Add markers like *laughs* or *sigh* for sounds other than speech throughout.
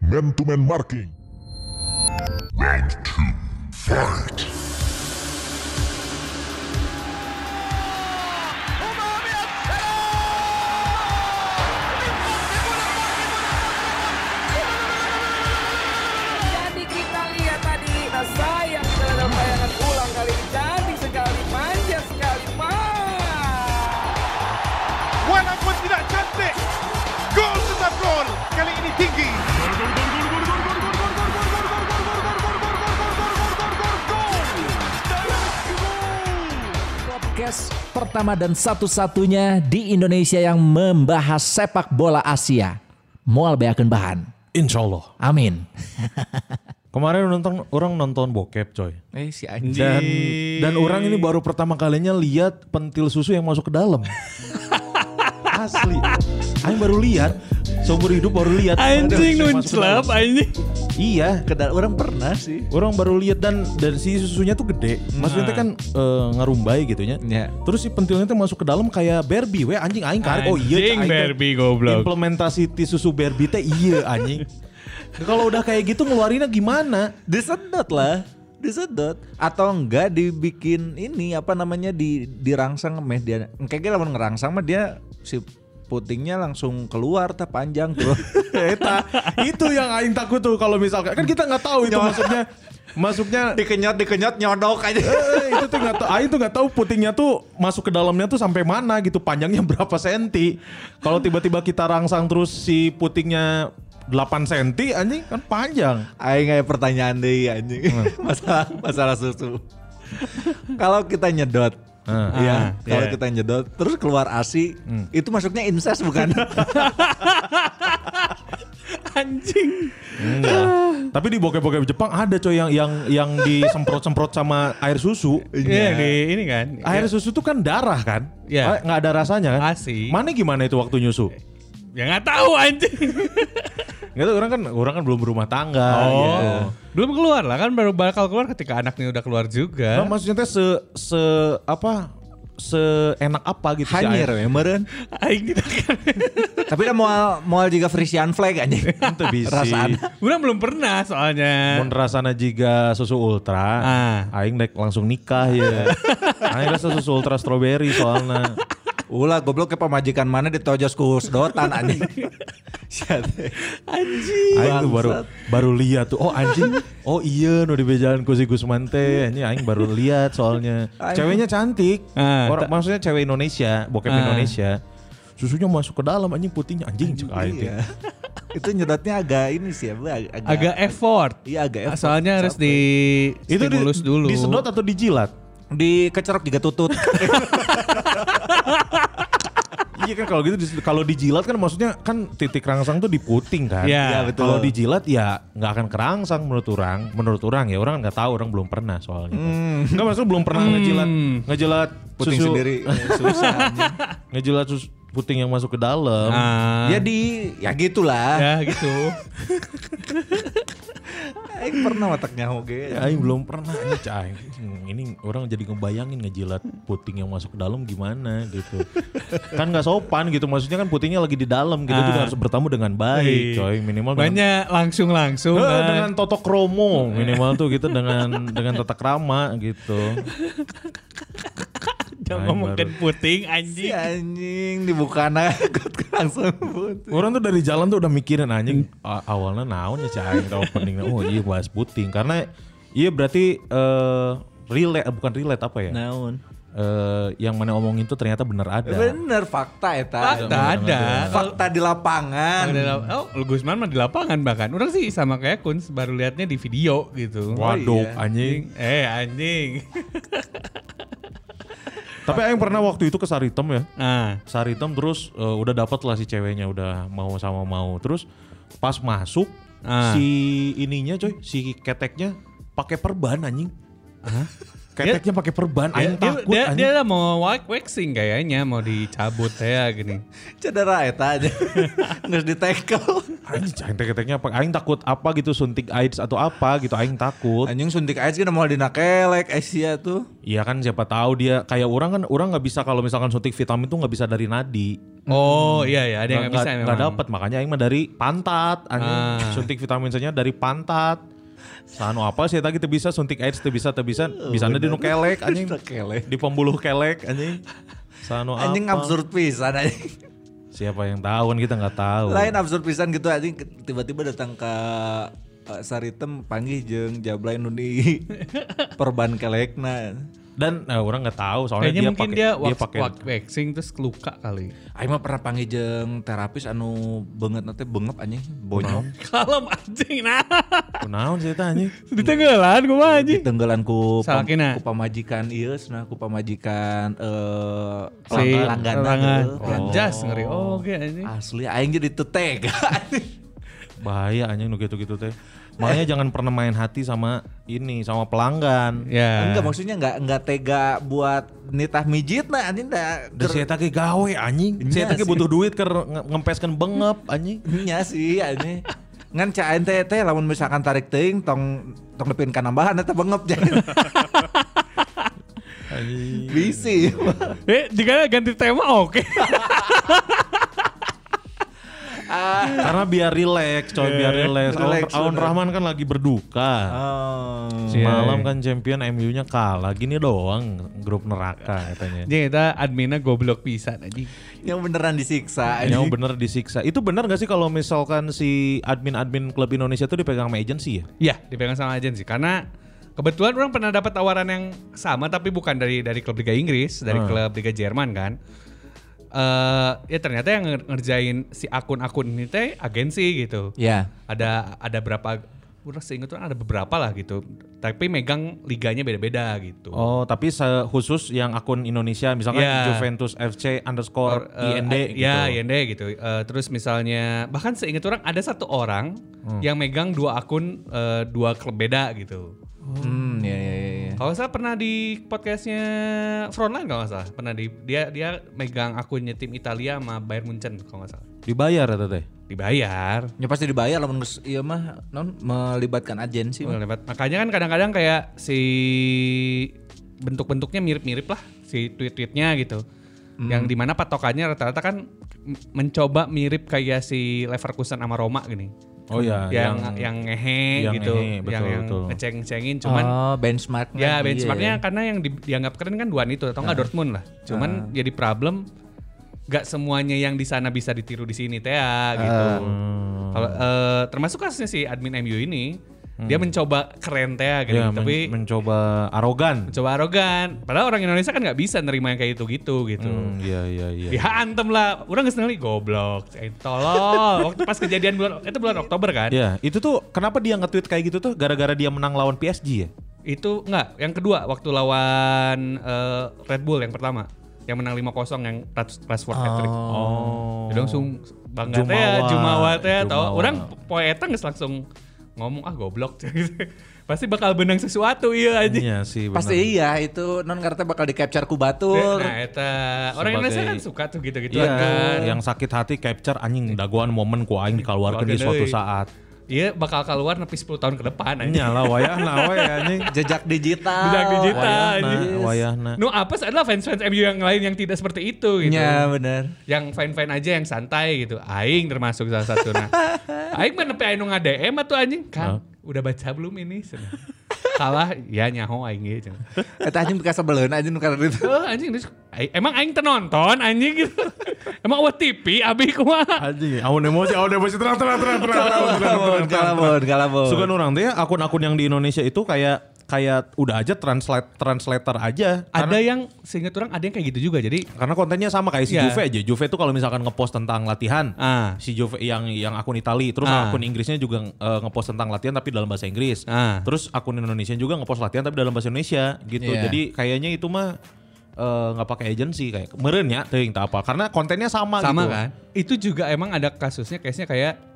Man to man marking. Round two, fight. Jadi kita lihat tadi nah, sayang sekali dalam bayangan ulang kali ini cantik sekali, manja sekali, mah. Walang pun tidak cantik. Gol tetap gol. Kali ini tinggi. podcast pertama dan satu-satunya di Indonesia yang membahas sepak bola Asia. Mual beakeun bahan. Insya Allah. Amin. Kemarin nonton orang nonton bokep coy. Eh si anjing. Dan dan orang ini baru pertama kalinya lihat pentil susu yang masuk ke *laughs* dalam. Asli. Aing baru lihat. Seumur hidup baru lihat. Anjing Ada yang masuk ke dalam. nunclap anjing. Iya. Kedal orang pernah sih. Orang baru lihat dan dan si susunya tuh gede. Maksudnya teh Nah. kan eh, ngarumbai gitu ya. Iya. Terus si pentilnya tuh masuk ke dalam kayak Barbie. Weh anjing aing kan. Oh iya. Anjing aing teh Barbie goblok. Implementasi ti susu Barbie teh iya anjing. *laughs* Kalau udah kayak gitu ngeluarinnya gimana? Disedot lah. Disedot atau enggak dibikin ini apa namanya di dirangsang meh dia. Kayaknya lamun ngerangsang mah dia si putingnya langsung keluar teh panjang *laughs* tuh. Eta itu yang aing takut tuh kalau misalkan kan kita nggak tahu itu maksudnya masuknya dikenyot dikenyot nyodok aja. eh, itu tuh nggak tahu aing tuh nggak tahu putingnya tuh masuk ke dalamnya tuh sampai mana gitu panjangnya *laughs* berapa senti kalau tiba-tiba kita rangsang terus si putingnya 8 senti anjing kan panjang Aing kayak pertanyaan deh anjing Hmm. *laughs* masalah masalah susu. Kalau kita nyedot, Hmm. ya Ah, kalau iya. kita nyedot, terus keluar asi, itu masuknya incest bukan? Anjing. Ah. tapi di bokep-bokep Jepang ada coy yang yang yang disemprot-semprot sama air susu Iya di ini kan. air Ya, susu tuh kan darah kan Iya. Eh, nggak ada rasanya kan Asih. mana gimana itu waktu nyusu ya nggak tahu anjing. *laughs* nggak tahu orang kan orang kan belum berumah tangga gitu. Oh. Belum keluar lah kan baru bakal keluar ketika anaknya udah keluar Nah, juga. maksudnya teh se se apa seenak apa gitu si Hanyir air. ya meren. Aing kan. tidak *laughs* Tapi udah mau mau juga Frisian flag *laughs* anjing. Itu bisa. Rasaan. Orang belum pernah soalnya. Mun rasana jiga susu ultra, Ah. aing dek langsung nikah *laughs* ya. aing rasa susu ultra strawberry soalnya. Ulah goblok ke pemajikan mana ditojos ku sedotan anjing. Sia teh. Aing tuh Ah, baru baru lihat tuh, oh anjing, oh iya nu dibejalan ku si Gusman teh, ini aing baru lihat soalnya. Ceweknya cantik. Ah, Orang, maksudnya cewek Indonesia, bokep Ah. Indonesia. Susunya masuk ke dalam anjing putihnya anjing cek aing. teh. Iya. itu nyedotnya agak ini sih ya, ag- agak, Agak effort. Iya, agak effort. Soalnya harus di Itu di, stimulus dulu. disedot atau dijilat? dikecerok juga tutut. Iya kan kalau gitu dis- kalau dijilat kan maksudnya kan titik rangsang tuh di puting kan. Iya. Iya, betul. Kalau dijilat ya nggak akan kerangsang menurut orang. Menurut orang ya orang nggak tahu orang belum pernah soalnya. Hmm. Nggak maksudnya belum pernah ngejilat Hmm. ngejilat Puting susu, sendiri eh, susah anjing. ngejilat susu puting yang masuk ke dalam. Ah, Ya di ya gitulah. ya *laughs* gitu. Aing Eh, pernah otaknya oke. Ya, Aing belum pernah nih Cai. Hmm, Ini orang jadi ngebayangin ngejilat puting yang masuk ke dalam gimana gitu. kan nggak sopan gitu. Maksudnya kan putingnya lagi di dalam gitu. Itu Ah. Iya. harus bertamu dengan baik coy. Minimal dengan Banyak langsung-langsung. Eh, kan. dengan Toto Kromo minimal tuh gitu dengan dengan tata krama gitu. Jangan ngomongin puting anjing. Si Iya, anjing dibuka nakut langsung putih. Orang tuh dari jalan tuh udah mikirin anjing a- awalnya naon ya si aing tau openingnya. Oh iya bahas puting karena iya berarti eh relate eh, bukan relate apa ya? Naon? Eh, yang mana omongin tuh ternyata bener ada. Bener fakta eta. Fakta ada. Fakta di lapangan. Ada lap- Oh, lu Gusman mah di lapangan bahkan. Orang sih sama kayak Kuns baru liatnya di video gitu. Waduh iya. Oh, anjing. Eh anjing. *laughs* Tapi aing pernah waktu itu ke Saritem ya. Nah, Saritem terus eh, udah dapet lah si ceweknya udah mau sama mau. Terus pas masuk Ah. si ininya coy, si keteknya pakai perban anjing. Keteknya pakai perban, Dia, aing dia, takut dia, anjing. dia lah mau wa- waxing kayaknya mau dicabut ya gini. Cedera eta *laughs* aja. Nggak di tackle. Anjing, aing keteknya apa? Aing takut apa gitu suntik AIDS atau apa gitu aing takut. Anjing suntik AIDS kan mau dina kelek Asia tuh. Iya kan siapa tahu dia kayak orang kan orang nggak bisa kalau misalkan suntik vitamin tuh nggak bisa dari nadi. Oh iya Nggak- ya ada yang nggak bisa nggak- memang. nggak dapat makanya aing mah dari pantat anjing. Ah. Suntik vitamin C-nya dari pantat. Sanu apa sih tadi kita bisa suntik AIDS teu bisa teu bisa Oh, bisa di nu kelek anjing. Dina kelek. Di pembuluh kelek anjing. Sanu apa? Anjing absurd pisan anjing. Siapa yang tahu kan kita nggak tahu. Lain absurd pisan gitu anjing tiba-tiba datang ke eh, Saritem panggih jeung Jablay nu *laughs* di perban kelekna. Dan nah, orang nggak tahu soalnya Kayaknya dia mungkin pakai dia, dia wax, pakai wax- waxing terus keluka kali. *laughs* Aing mah pernah panggil jeung terapis anu banget nanti bengep anjing bonyok Kalem anjing nah. kunaon sih eta anjing. Ditenggelan gua mah anjing. tenggelan ku pam- Salakina. ku pamajikan ieu nah ku pamajikan eh Si pelanggan pelanggan. teh, Pelanjas ngeri. Oh, oke anjing. Ah. Asli aing jadi *laughs* tetega. Bahaya anjing nu gitu-gitu teh. Makanya Eh. jangan pernah main hati sama ini sama pelanggan. Ya. Enggak maksudnya enggak enggak tega buat nitah mijit nah anjing da Dan si eta ge gawe anjing. Si Iya eta ge sih. butuh duit keur nge- ngempeskeun bengep anjing. nya Iya sih anjing. Ngan caen teh teh lamun misalkan tarik teuing tong tong nepin kanambahan eta bengep *laughs* jadi. Iya. Bisi. Eh, jika ganti tema oke. *laughs* Karena biar rileks, coy, biar rileks. Aun, relax, Aun bener. Rahman kan lagi berduka. Oh. Semalam kan champion MU-nya kalah gini doang grup neraka katanya. Anjing kita adminnya goblok pisan anjing. Yang beneran disiksa Yang anjing. bener disiksa. Itu bener gak sih kalau misalkan si admin-admin klub Indonesia tuh dipegang sama agency ya? Ya, dipegang sama agen sih karena kebetulan orang pernah dapat tawaran yang sama tapi bukan dari dari klub Liga Inggris, dari Hmm. klub Liga Jerman kan. Eh, ya ternyata yang nger- ngerjain si akun-akun ini teh agensi gitu. Ya. Ada ada berapa Udah seingat orang ada beberapa lah gitu. Tapi megang liganya beda-beda gitu. Oh, tapi se- khusus yang akun Indonesia misalkan Ya. Juventus FC underscore Or, eh, IND ad- gitu. Ya, IND gitu. Eh, terus misalnya bahkan seingat orang ada satu orang Hmm. yang megang dua akun eh, dua klub beda gitu. Hmm, ya ya ya. ya. Kalau saya pernah di podcastnya Frontline kalau nggak salah, pernah di dia dia megang akunnya tim Italia sama Bayern Munchen kalau nggak salah. Dibayar ya teh. Dibayar. Ya pasti dibayar lamun geus ieu mah non melibatkan agensi mah. Lewat. Makanya kan kadang-kadang kayak si bentuk-bentuknya mirip-mirip lah si tweet-tweetnya gitu. Hmm. Yang dimana patokannya rata-rata kan m- mencoba mirip kayak si Leverkusen sama Roma gini. Oh ya, yang yang ngehe yang gitu, ngehe, betul, yang, yang betul. Ah. ngeceng-cengin cuman oh, benchmark Iya, Ya benchmarknya karena yang di- dianggap keren kan Duan itu atau Ah, enggak Dortmund lah. Cuman jadi problem nggak semuanya yang di sana bisa ditiru di sini teh gitu. Ah. Kalau eh, termasuk kasusnya si admin MU ini dia mencoba keren teh gitu, Ya, Hmm. men- tapi mencoba arogan. mencoba arogan. Padahal orang Indonesia kan nggak bisa nerima yang kayak itu gitu gitu. Hmm, iya iya iya. Ya antem lah, orang nggak seneng goblok, Eh, tolol. Waktu pas kejadian bulan itu bulan Oktober kan, Ya, itu tuh kenapa dia nge-tweet kayak gitu tuh gara-gara dia menang lawan PSG ya? Itu enggak, yang kedua waktu lawan eh, Red Bull yang pertama. Yang menang 5-0 yang Rats- Rashford hat-trick. Oh. Jadi langsung bangga teh, Jumawa. jumawa teh Jumawa. atau orang poeta geus langsung ngomong ah goblok *laughs* gitu. Pasti bakal benang sesuatu iya aja. Iya sih. Pasti iya benar. itu non karena bakal di capture ku batur. Nah, eta Iya. Sebagai- orang Indonesia kan suka tuh gitu-gitu Iya, kan. yang sakit hati capture anjing dagoan momen ku aing dikeluarkan di Keluarkan suatu deui. saat. Iya Iya bakal keluar nepi 10 tahun ke depan aja. Nyala wayahna we anjing. Jejak digital. Jejak digital, Wayahna, anjing. Gitu. wayahna. Iya, Nu apes adalah fans-fans MU yang lain yang tidak seperti itu gitu. Ya benar. yang fine-fine aja yang santai gitu. Aing termasuk salah *laughs* satu nah. Aing mah nepi aing nu ngadm atuh anjing. Kang, udah baca belum ini? Cenah. Kalah ya nyaho aing ieu cenah. Eta anjing bekas sebeleun anjing nu karena itu. Eh, anjing terus aing- emang aing tenonton anjing *laughs* gitu. emang awet TV abi kumaha? Anjing, awan emosi, awan emosi terang terang terang terang terang terang terang, terang. Galabon, galabon. Suka orang teh akun-akun yang di Indonesia itu kayak kayak udah aja translate translator aja. Karena- Ada yang seingat orang ada yang kayak gitu juga. Jadi Karena kontennya sama kayak si Iya. Juve aja. Juve itu kalau misalkan ngepost tentang latihan, Ah. si Juve yang yang akun Itali, terus Ah. akun Inggrisnya juga eh, ngepost tentang latihan tapi dalam bahasa Inggris. Ah. Terus akun Indonesia juga ngepost latihan tapi dalam bahasa Indonesia gitu. Iya. Jadi kayaknya itu mah eh, nggak pakai agensi kayak meren ya teuing teu apa karena kontennya sama, sama Ah, gitu. kan? Itu juga emang ada kasusnya case-nya kayak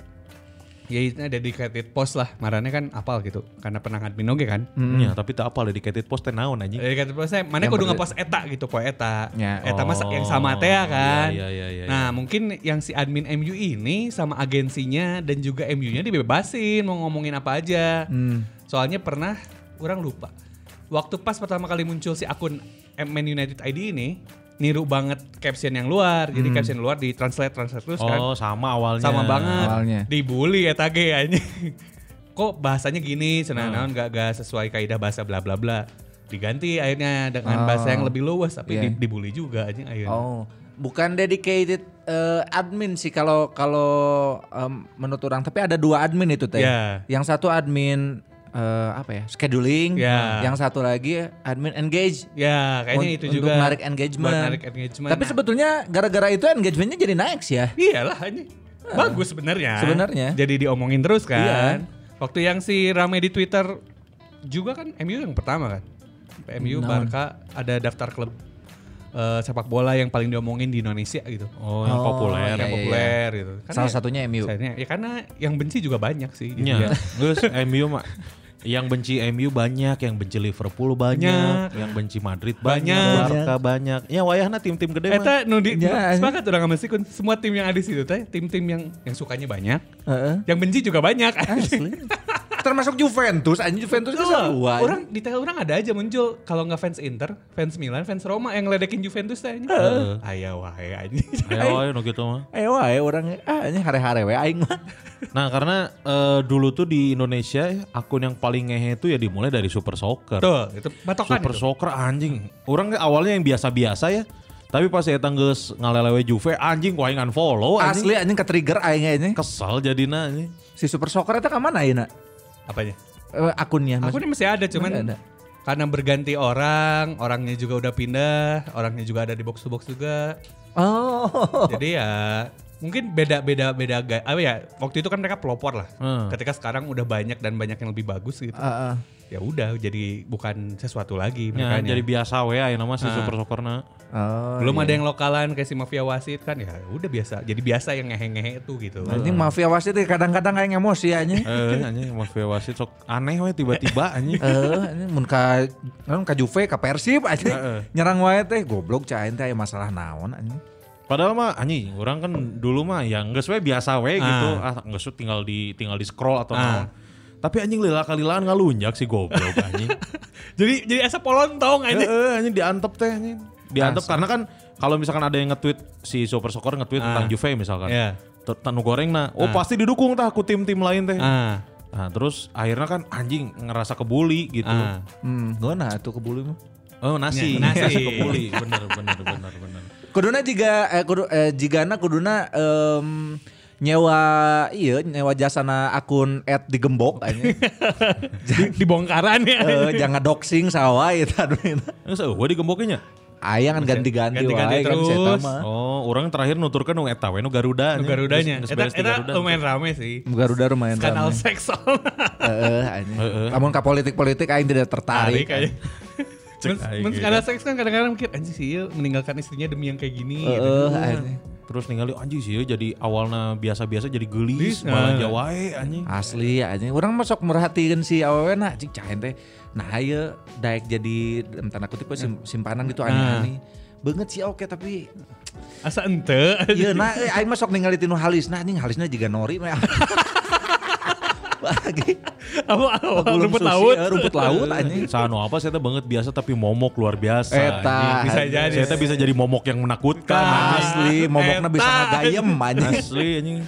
ya ini dedicated post lah. Marane kan apal gitu. Karena pernah admin oge kan. Ya, tapi tak apa dedicated post teh naon anjing. Dedicated postnya Iya, kan, mana kudu ngepost eta gitu poe eta. Ya, eta masak yang sama teh iya, kan. iya, iya, iya, nah, mungkin yang si admin MU ini sama agensinya dan juga MU-nya dibebasin mau ngomongin apa aja. Hmm. Soalnya pernah orang lupa. Waktu pas pertama kali muncul si akun Man United ID ini niru banget caption yang luar. Jadi caption luar di translate translate terus kan. Hmm. Oh, sama awalnya. Sama banget. Awalnya. Dibully eta ge anjing. Kok bahasanya gini, Ah. senang-senang gak, gak sesuai kaidah bahasa bla bla bla. Diganti akhirnya dengan bahasa yang lebih luas Ah. tapi Iya. di- dibully juga anjing akhirnya. Oh, bukan dedicated eh, admin sih kalau kalau em, menurut orang, tapi ada dua admin itu teh. Ya. Yang satu admin eh, apa ya? scheduling, Ya. yang satu lagi admin engage. Ya, kayaknya Un- itu untuk juga. menarik engagement. Buat narik engagement. Tapi Nah, sebetulnya gara-gara itu engagementnya jadi naik sih ya. iyalah anjing. Bagus sebenarnya. Sebenarnya. Jadi diomongin terus kan. Iya. Waktu yang si rame di Twitter juga kan MU yang pertama kan. MU Barca ada daftar klub eh, sepak bola yang paling diomongin di Indonesia gitu. Oh, yang Oh, iya, populer. yang iya. populer gitu. Karena Salah satunya MU. Sayangnya, ya karena yang benci juga banyak sih. gitu Ya. ya. Terus MU mah yang benci MU banyak, yang benci Liverpool banyak, Banyak. yang benci Madrid banyak, Banyak. Eh, Barca banyak. Ya wayahna tim-tim gede mah. Eta nu di- Ya. sepakat orang sama si Kun, semua tim yang ada di situ teh tim-tim yang yang sukanya banyak, Heeh. yang benci juga banyak. Termasuk Juventus, anjing Juventus kan Tuh, dua. orang di tengah orang ada aja muncul kalau nggak fans Inter, fans Milan, fans Roma yang ngeledekin Juventus teh. Aya wae anjing. *laughs* Ayo, ayo, nu gitu mah. Ayo Eh, wae orangnya ah ini hare-hare wae aing *laughs* mah. Nah karena eh, dulu tuh di Indonesia ya, akun yang paling ngehe itu ya dimulai dari Super Soccer. Tuh, itu patokan Super itu. Soccer anjing. Orang awalnya yang biasa-biasa ya. Tapi pas Eta geus ngalelewe Juve anjing kok aing unfollow anjing. Asli anjing ke-trigger aing anjing. Kesal jadina anjing. Si Super Soccer itu ka mana ayeuna? Apanya? Eh, akunnya maksud- Akunnya masih ada cuman Masih ada. karena berganti orang, orangnya juga udah pindah, orangnya juga ada di box to box juga. *laughs* Oh. Jadi ya mungkin beda-beda beda gaya. Apa ya? Waktu itu kan mereka pelopor lah. Hmm. Ketika sekarang udah banyak dan banyak yang lebih bagus gitu. Heeh. Ya udah jadi bukan sesuatu lagi Ya, makanya. jadi biasa we ayeuna mah si Ah. Super nah. Soccerna. Oh. belum ada yang lokalan kayak si mafia wasit kan ya udah biasa. Jadi biasa yang ngehe-ngehe itu gitu. Anjing mafia wasit itu kadang-kadang kayak emosi *laughs* *laughs* anjing. Eh anjing mafia wasit sok aneh we tiba-tiba anjing. Eh, ini mun ka mun ka Juve, ka Persib anjing. Nyerang wae teh goblok cai teh aya masalah naon anjing. Padahal mah anjing, orang kan dulu mah ya geus we biasa we gitu. Ah geus we tinggal di tinggal di scroll atau Ah. naon. Tapi anjing lila-kalilaan ngalunjak si goblok anjing. jadi jadi asa polontong Heeh, aja. anjing diantep teh anjing. Diantep karena kan kalau misalkan ada yang nge-tweet si Super Soccer nge-tweet Ah. tentang Juve misalkan. Iya. Ter- Tanu goreng nah, oh pasti didukung tah ku tim-tim lain teh. Ah, *laughs* Nah, terus akhirnya kan anjing ngerasa kebuli gitu. ah. Hmm, gimana tuh kebuli mah? Oh, nasi, Ya, nasi. ngerasa kebuli. Bener, bener, bener, bener. Kuduna jika eh, kudu, eh, jigana kuduna em, nyewa iya nyewa jasana akun at digembok *laughs* anjing. Di- dibongkaran ya. Eh, jangan doxing iya, sawah eta admin. Nggak usah, gue digemboknya. Aya kan ganti-ganti wae Ganti-ganti kan si eta terus. mah. Oh, orang terakhir nuturkan nu eta we nu Garuda. Nu Garudanya. Geus- geus Eta beres di eta Garuda. lumayan rame sih. Garuda lumayan Oh. Kanal rame. seks Heeh, *laughs* anjing. Heeh. Namun ke politik-politik aing tidak tertarik. tarik aja. *laughs* Cek Mens- aing iya. mens- gitu. Karena seks kan kadang-kadang mikir anjing sih Yul meninggalkan istrinya demi yang kayak gini. gitu. Heeh, Eh, anjing. Terus ningali anjing sih ya, jadi awalnya biasa-biasa jadi gelis, Gelis, malah nah. Jawa we, anjing. Asli anjing. Urang masuk merhatiin si awewe na cing cahen teh. Nah ieu daek jadi dalam tanda kutip we sim- simpanan gitu Nah. aneh-aneh. Beungeut sih oke tapi Asa ente. ieu na eh, aing masuk ningali tinu halis. Nah anjing halisna juga nori mah. *laughs* Bagi *laughs* Apa apa gulung rumput sushi, laut. eh, rumput laut anjing. Sano apa saya banget biasa tapi momok luar biasa. Eta. Bisa anjing. jadi. Saya bisa jadi momok yang menakutkan. anjing. Asli momokna bisa Eta. ngagayem anjing. Asli anjing.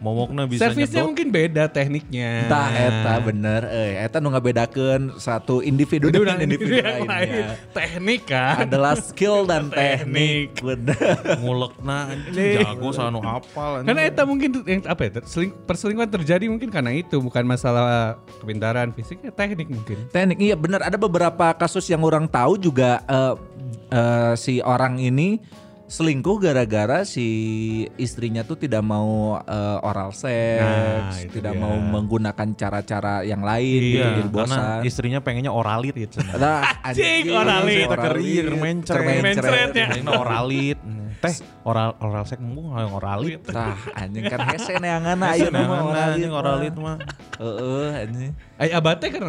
Momokna bisa Servisnya nyedot. mungkin beda tekniknya. Eta eta bener euy. Eta nu ngabedakeun satu individu dengan Udah individu ya. yang lain. lainnya. Teknik kan. Adalah skill dan Teknik. teknik. Bener. ngulekna anjing jago sano apal Karena eta mungkin yang apa ya? terseling- perselingkuhan terjadi mungkin karena itu bukan masalah kepintaran fisiknya, teknik mungkin. Teknik iya benar ada beberapa kasus yang orang tahu juga eh, eh, si orang ini selingkuh gara-gara si istrinya tuh tidak mau eh, oral Nah, seks, itu tidak dia. mau menggunakan cara-cara yang lain Iya, gitu, jadi karena bosan. istrinya pengennya oralit ya. *laughs* Nah, *laughs* Cing, oralit, oralit, iya, Kerir mencret. cermencret. Nah, Mencret ya. Pengennya oralit. Teh, oral oral sek mung hayang oralit. Tah anjing kan hese neanganna Hese ayeuna mah neanganna, oralit. ya, anjing, oralit mah. Heeh anjing. Ay abate kan?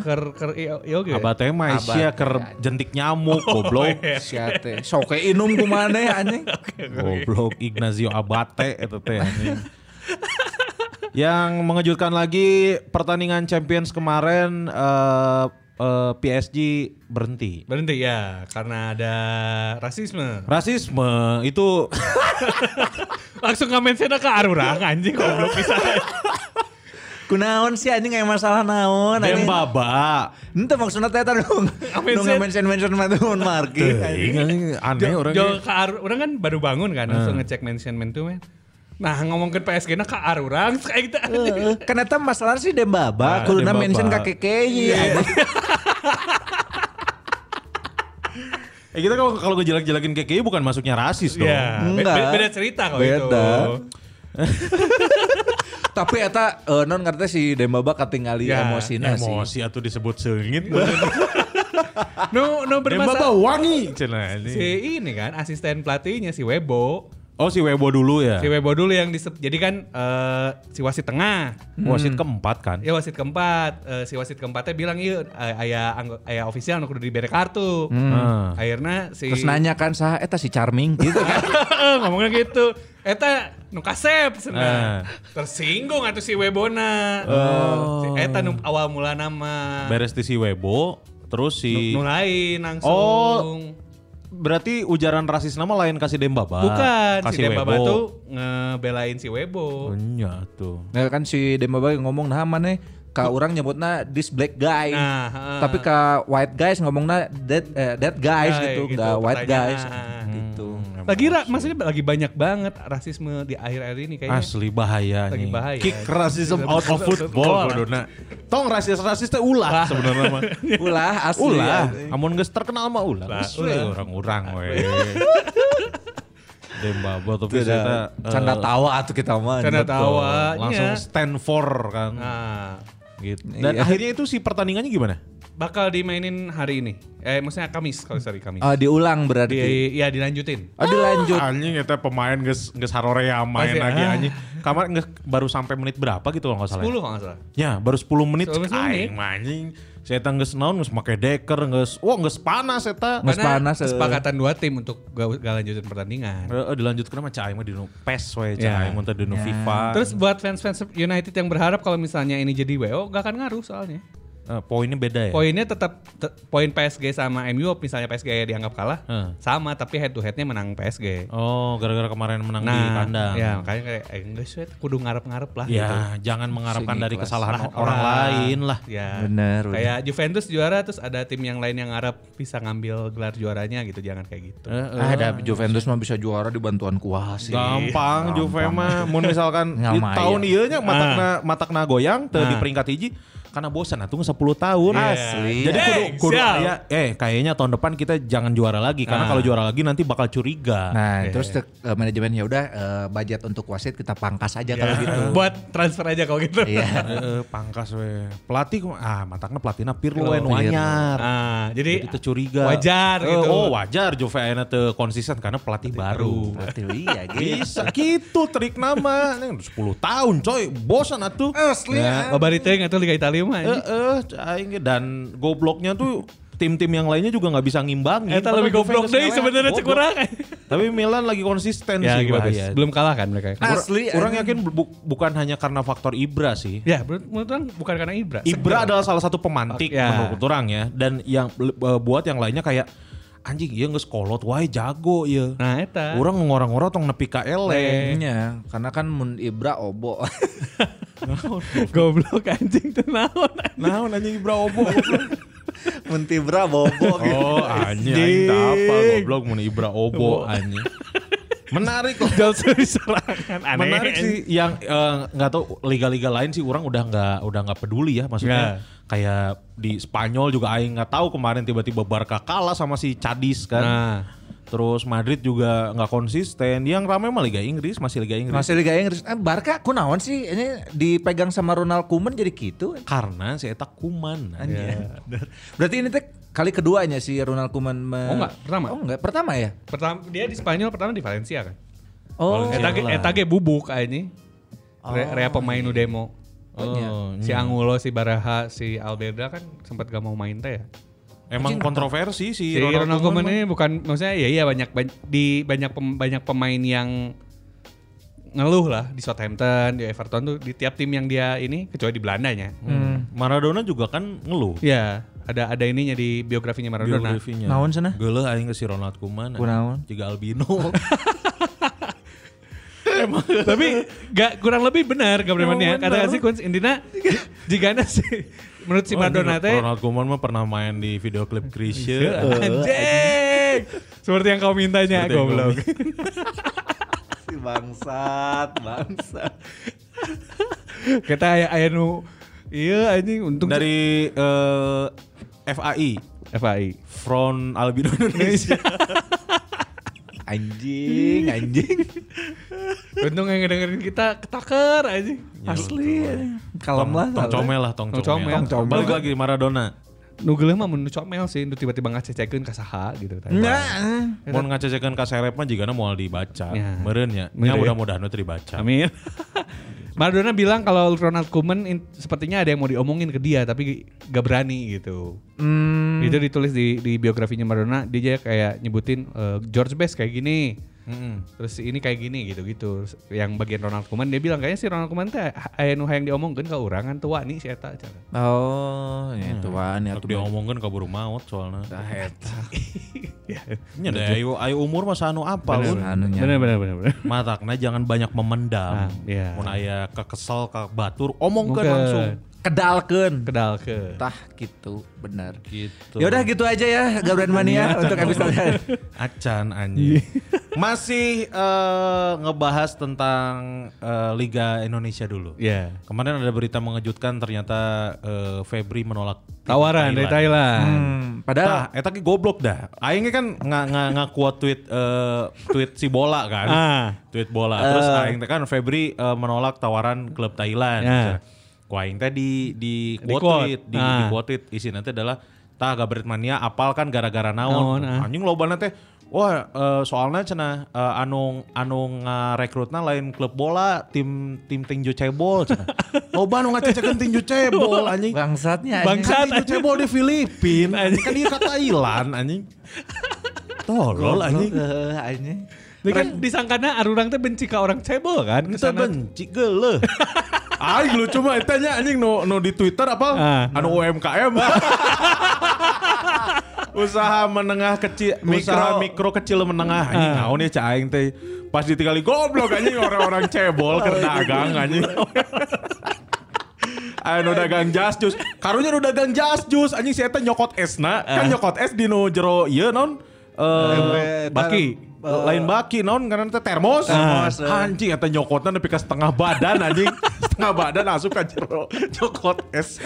Ker ker iya iya ge. Abah teh mah sia iya, keur jentik nyamuk Oh, goblok. Sia teh soke inum kumane anjing. Goblok Ignazio Abate itu teh anjing. Yang mengejutkan lagi pertandingan Champions kemarin eh, eh, PSG berhenti. Berhenti ya karena ada rasisme. Rasisme *laughs* itu Langsung ngamen sana ke arurang *laughs* anjing goblok bisa. Kunaon sih anjing kayak masalah naon Nah, anjing. dembaba. Ente maksudnya *laughs* teh tadi dong. Amin, Dong Sen. mention-mention mah tuh iya. marki. Teuing, anjing, aneh orang Iya, Jo ke ar- orang kan baru bangun kan langsung ngecek mention men tuh men. Nah ngomongin PSG na ke arurang kayak gitu. anjing. Kan eta masalah sih Dembaba, Iya. Ah, kuluna Dembaba. mention ka kekeye. anjing. Eh kita kalau kalau ngejelek-jelekin KKI bukan masuknya rasis dong. *laughs* Iya. Be- Enggak. be- Beda cerita kalau itu. Beda. *laughs* Tapi eta eh, non ngerti si Dembaba katingali Ya, emosina sih. Emosi atau disebut *laughs* seungit. *laughs* No no Dembaba bermasalah. wangi. Cenah, ini. Si ini kan asisten pelatihnya si Webo. Oh si Webo dulu ya. Si Webo dulu yang disebut. Jadi kan eh, si wasit tengah. Wasit keempat kan. Ya wasit keempat, eh, si wasit keempatnya bilang iya eh, aya anggo- aya ofisial nu kudu dibere kartu. Nah, Hmm. Akhirnya si Terus nanya kan sah, eta si Charming *laughs* gitu kan. *laughs* ngomongnya gitu. Eta nu kasep cenah. Eh. Tersinggung atuh si Webona. Oh. Si eta nu awal mula nama. Beres di si Webo, terus si Nu lain langsung. Oh, berarti ujaran rasis nama lain kasih Dembaba. Bukan, si kasih Dembaba tuh ngebelain si Webo. Iya tuh. Nah kan si Dembaba ngomong nah mana ka orang nyebutna this black guy. Nah, heeh. Tapi ka white guys ngomongna that eh, that guys Guy, gitu, gitu, the white guys pertanyaan. gitu. Lagi ra, maksudnya lagi banyak banget rasisme di akhir-akhir ini kayaknya. Asli bahaya Lagi nih. bahaya. Kick racism out of football. Bodona. Tong rasis-rasis teh ulah sebenarnya mah. Ulah asli. ya. Ulah, anjing. amun geus terkenal mah ulah. Lah, Geus we, ulah. Orang-orang we. *laughs* Dembaba tapi Tidak. saya Canda tawa atuh kita mah. eh, Canda tawa. eh, langsung stand for kan Nah, gitu. Dan Iya. akhirnya itu si pertandingannya gimana? bakal dimainin hari ini. Eh, maksudnya Kamis kalau sorry Kamis. Ah, Oh, diulang berarti. Di, ya dilanjutin. Oh, dilanjut. Anjing eta pemain geus geus harorea main Masih, lagi ah. anjing. Kamar geus baru sampai menit berapa gitu kalau enggak salah. 10 kalau nggak salah. Ya, baru 10 menit. 10 menit. Aing mah anjing. Saya geus naon geus make deker geus wah geus panas eta. Nges panas, eh. kesepakatan dua tim untuk gak, gak lanjutin pertandingan. Heeh, dilanjutkeun mah eh, cai mah di nu PES we cai Ya. mah teh di nu FIFA. Terus buat fans-fans United yang berharap kalau misalnya ini jadi WO gak akan ngaruh soalnya. Eh, poinnya beda ya. Poinnya tetap te- poin PSG sama MU misalnya PSG dianggap kalah Hmm. sama tapi head to headnya menang PSG. Oh, gara-gara kemarin menang di kandang. ya makanya kayak eh, enggak sweat kudu ngarep-ngarep lah Ya, gitu. jangan mengharapkan dari Seikhlas. kesalahan orang lain lah. Ya. Bener, bener. Kayak Juventus juara terus ada tim yang lain yang ngarep bisa ngambil gelar juaranya gitu, jangan kayak gitu. Eh, Ah, Ada Juventus mah bisa juara di bantuan kuas sih. Gampang Juve mah mun misalkan di Ngamayan. tahun ieu nya matakna matakna goyang teu di peringkat hiji karena bosan atuh 10 tahun. Asli. Jadi Eh, kudu kudu sial. aya, eh kayaknya tahun depan kita jangan juara lagi karena Nah. kalau juara lagi nanti bakal curiga. Iya. Nah, terus te- eh, manajemen ya udah eh, budget untuk wasit kita pangkas aja Iya. kalau gitu. Ya, *laughs* Buat transfer aja kalau gitu. Iya. Eh, eh, pangkas we. Pelatih kum- ah matakna pelatihna Pirlo we nu Pirlo. anyar. *laughs* Ah, jadi, Jadi teu curiga. Wajar Eh, gitu. Oh, wajar Juve ayeuna teu konsisten karena pelatih baru. Berarti iya gitu. Bisa gitu trik nama. Ini 10 tahun coy, bosan atuh. Asli. Babari teuing atuh Liga Italia mah. Eh, anjing. eh, aing ge. dan gobloknya tuh tim-tim yang lainnya juga nggak bisa ngimbangin. Eta Padahal lebih goblok Juventus deh ngelewe. sebenarnya Goblok. cek kurang. Tapi Milan lagi konsisten *laughs* Ya, sih bagus. bahaya. Belum kalah kan mereka. Ah. Ur- Asli, Orang anjing. yakin bu- bukan hanya karena faktor Ibra sih. Ya, menurut menurut orang bukan karena Ibra. Ibra Seger. adalah salah satu pemantik Ya. menurut orang ya dan yang eh, buat yang lainnya kayak anjing ya nggak sekolot wae jago ya. Nah, eta. Orang ngorang-ngorang tong nepi ka E. ele. Iya, karena kan mun Ibra obo. *laughs* *laughs* goblok anjing teu naon. Nah, anjing Ibra obo. mun Ibra bobo oh, anjing aing teu apa goblok mun Ibra obo anjing. Menarik loh. Jauh serangan aneh. menarik sih yang eh, nggak tahu liga-liga lain sih orang udah nggak udah nggak peduli ya maksudnya kayak di Spanyol juga aing nggak tahu kemarin tiba-tiba Barca kalah sama si Cadiz kan Nah. terus Madrid juga nggak konsisten yang ramai mah Liga Inggris masih Liga Inggris Masih Liga Inggris. Eh, Barca kunaon sih ini dipegang sama Ronald Koeman jadi gitu. karena si Eta Kuman Berarti ini teh Kali keduanya si Ronald Koeman me- Oh, enggak, pertama. Oh enggak, pertama ya? Pertama dia di Spanyol pertama di Valencia kan. Oh. Eta ge eta ge bubuk aja. Re, rea pemain nu demo. Oh, Si Angulo, si Baraha, si Alberda kan sempat gak mau main teh ya. Emang kontroversi si Si Ronald, Koeman mah. ini bukan maksudnya ya iya banyak ban- di banyak pem- banyak pemain yang ngeluh lah di Southampton, di Everton tuh di tiap tim yang dia ini kecuali di Belandanya. Hmm. Maradona juga kan ngeluh Ya, ada ada ininya di biografinya Maradona. biografinya. Naon cenah? Geuleuh aing ke si Ronald Koeman. Kunaon? Juga albino. Tapi gak kurang lebih benar Emang gambarannya. Kata benar. Oh, si Kunz Indina jika si menurut *laughs* si Maradona teh Ronald Koeman mah pernah main di video klip Krisye. anjing. Seperti yang kau mintanya Seperti yang kau *laughs* goblok. Si bangsat, bangsat. Kita aya aya nu iya anjing untung Dari eh, FAI, FAI. Front Albino Iya, Indonesia. Anjing, *laughs* anjing. *laughs* Untung yang ngedengerin kita ketaker anjing. Asli. anjing. Kalem lah. Tong comel lah, tong Tong comel. comel. Tong comel. Balik lagi di Maradona. Nu geuleuh mah mun nu comel sih, nu tiba-tiba ngacecekeun ka saha gitu tadi. Nah. Mau ngacecekan kaserep mah jigana moal dibaca. Ya. Meureun ya. Meureun. Iya. Nya mudah-mudahan nu teu dibaca. Amin. *laughs* Maradona bilang kalau Ronald Koeman in- sepertinya ada yang mau diomongin ke dia tapi gak berani gitu. Hmm, Itu ditulis di, di biografinya Maradona dia aja kayak nyebutin e, George Best kayak gini. Terus ini kayak gini gitu-gitu. Terus Yang bagian Ronald Koeman dia bilang kayaknya si Ronald Koeman teh aya nu hayang diomongkeun ka urang kan tua nih si eta. cenah. Oh, ya tuan ya Sok diomongkeun kaburu maut soalnya. Iya, Ya. Nya deh, ayo, ayo umur mah anu apa Bener, un. anunya. Bener bener bener bener. Matakna jangan banyak memendam. Ah, iya. Mun aya kekesel ka batur omongkeun langsung. Kedalkeun. Kedal ke. Tah gitu, benar. Gitu. Ya udah gitu aja ya Gabriel Mania untuk episode Acan anjing. *laughs* Masih eh, ngebahas tentang eh, Liga Indonesia dulu. Ya. Kemarin ada berita mengejutkan ternyata eh, Febri menolak Tawaran dari Thailand. Hmm, Padahal Nah, eta ge goblok dah. Aing kan nggak nggak ngakuat tweet eh, tweet si bola kan. Ah. Tweet bola. Terus aing teh kan Febri eh, menolak tawaran klub Thailand. Ya. Ku aing teh di di Di quote quote. tweet, di, Ah. di quote tweet isinya teh adalah tah Gabriel Mania apal kan gara-gara Naon, naon. ah. Anjing lobana teh Wah, eh, soalnya cenah eh, anu anu ngarekrutna lain klub bola, tim tim tinju cebol *laughs* cenah. Loba anu ngacecekeun tinju cebol anjing. bangsatnya anjing. Bangsat Bangsat, kan itu anjing. cebol di Filipina anjing. Kan dia ke Thailand *laughs* anjing. Tolol anjing. Eh, anjing. Dia kan disangkana arurang teh benci ka orang cebol kan. Kita kesana. benci geuleuh. *laughs* Aing lucu mah eta nya anjing no no di Twitter apa Ah. anu UMKM. *laughs* usaha menengah kecil usaha mikro kecil menengah anjing naon ya cah aing teh pas ditinggali goblok anjing orang-orang cebol ke dagang *laughs* anjing Ayo nu dagang jas jus. Karunya nu dagang jas jus anjing si eta nyokot esna. Kan nyokot es di nu jero ieu naon? Eh baki. lain baki naon karena teh termos. Eh, Termos, eh. Anjing eta nyokotna nepi ka setengah badan *laughs* anjing. setengah badan asup ka jero nyokot es.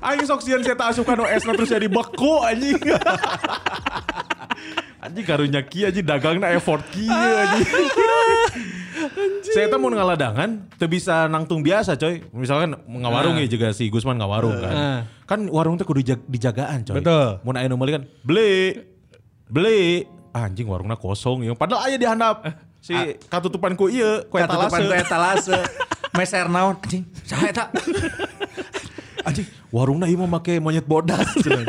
Anjing sok sieun si eta asup ka nu esna terus jadi beku *laughs* anjing. anjing karunya kieu anjing dagangna effort kieu *laughs* anjing. Saya tuh mau ngaladangan, teu bisa nangtung biasa coy. Misalkan ngawarung Nah. ya juga si Gusman ngawarung kan. Ah. Kan warung tuh kudu jag- dijagaan coy. Betul. Mun aya nu meuli kan beli beli Ah, anjing warungnya kosong ya. Padahal aya dihandap. Si ah. katutupan ku ieu, ku Katutupan ku etalase. etalase. *laughs* Meser naon anjing. Saha eta? Anjing warungna ieu mah make monyet bodas cenah.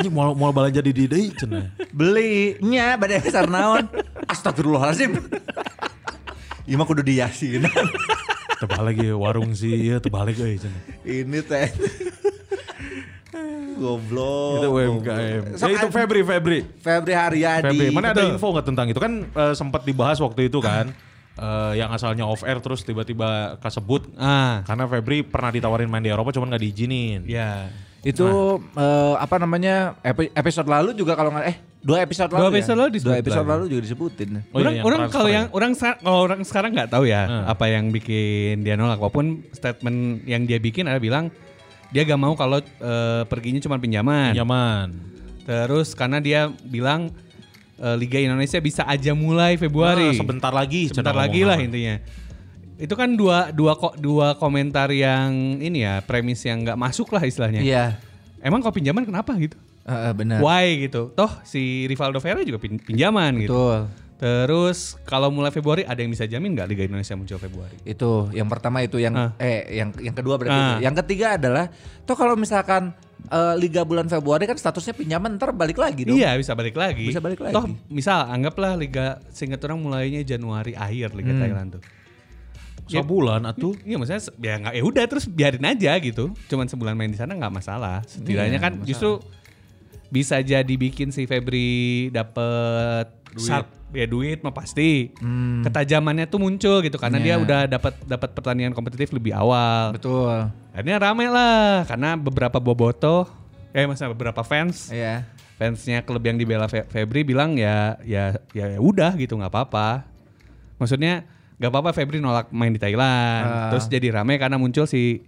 Anjing mau mau balanja di deui cenah. Beli nya bade meser *laughs* naon. Astagfirullahalazim. Ieu Iya mah kudu diyasin. Tebalik ya warung si ieu tebalik euy cenah. *laughs* Ini teh. Goblok. Itu UMKM. Sok Ya itu anjing. Febri Febri. Febri Haryadi. Febri, mana ada Betul. info nggak tentang itu kan eh, sempat dibahas waktu itu kan Eh, yang asalnya off air terus tiba-tiba kesebut Ah. karena Febri pernah ditawarin main di Eropa cuman nggak diizinin. Ya. Itu Nah. eh, apa namanya epi- episode lalu juga kalau nggak eh dua episode lalu Dua ya? episode lalu disebut dua episode lagi. lalu juga disebutin. Oh iya, orang yang orang transfer kalau ya. yang orang sa- kalau orang sekarang nggak tahu ya apa yang bikin dia nolak walaupun statement yang dia bikin ada bilang dia gak mau kalau eh, perginya cuma pinjaman. Pinjaman. Terus karena dia bilang eh, Liga Indonesia bisa aja mulai Ah, Februari. sebentar lagi. cenah Sebentar lagi lah ngomongan. intinya. Itu kan dua dua kok dua komentar yang ini ya premis yang nggak masuk lah istilahnya. Iya. Emang kalau pinjaman kenapa gitu? Heeh, Iya. benar. Why gitu. Toh si Rivaldo Vera juga pin- pinjaman gitu. Betul. Terus kalau mulai Februari ada yang bisa jamin nggak Liga Indonesia muncul Februari? Itu yang pertama itu yang Ah. eh yang yang kedua berarti. Ah. itu. Yang ketiga adalah toh kalau misalkan eh, liga bulan Februari kan statusnya pinjaman ntar balik lagi dong. Iya bisa balik lagi. Bisa balik lagi. Toh misal anggaplah Liga seingat orang mulainya Januari akhir Liga Hmm. Thailand tuh. Ya, Sebulan atuh. Iya maksudnya se- ya nggak ya udah terus biarin aja gitu. Cuman sebulan main di sana nggak masalah. Setidaknya Iya, kan justru bisa jadi bikin si Febri dapet sharp ya duit mah pasti. Ketajamannya tuh muncul gitu karena dia Hmm. Iya. udah dapat dapat pertandingan kompetitif lebih awal. Betul. Akhirnya rame lah karena beberapa boboto eh maksudnya beberapa fans Iya. fansnya klub yang dibela Fe- Febri bilang ya ya ya udah gitu nggak apa-apa. Maksudnya nggak apa-apa Febri nolak main di Ah. Thailand. Terus jadi rame karena muncul si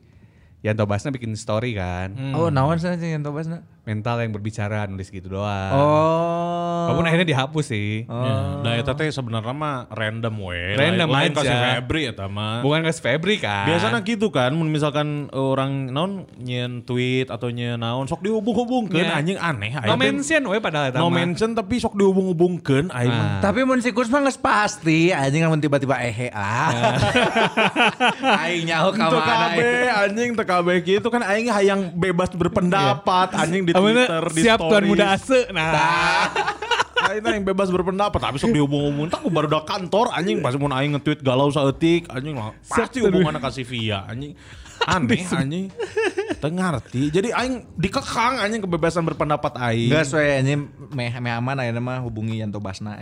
Yanto Basna bikin story kan. Hmm. Oh, naon sana sih yang tobas na? Mental yang berbicara nulis gitu doang. Oh. Walaupun akhirnya dihapus sih. Nah, eta teh sebenarnya mah random we. Ah. Random lain, Lain aja. kasih Febri eta mah. Bukan ke Febri kan. Biasanya gitu kan, mun misalkan orang naon nyen tweet atau nyen naon sok dihubung-hubungkeun Ya. anjing aneh teh. no mention we padahal eta No mah. mention tapi sok dihubung-hubungkeun aing mah. Nah. Tapi mun si Kurs mah geus pasti anjing namun tiba-tiba ehe ah. *laughs* Aing nyaho ka Itu mana, KB eh. anjing teu KB gitu kan aing hayang bebas berpendapat anjing di Amunnya Twitter di Iya. siap tuan stories. muda ase. *laughs* Nah. Aing yang bebas berpendapat tapi sok dihubung-hubung tak baru udah kantor anjing pas mun aing nge-tweet galau saeutik anjing lah, Siap pasti tuh. hubunganna ka si Via anjing aneh anjing teu ngarti jadi aing dikekang anjing kebebasan berpendapat aing Enggak sesuai anjing meh meh aman ayeuna mah hubungi Yanto Basna.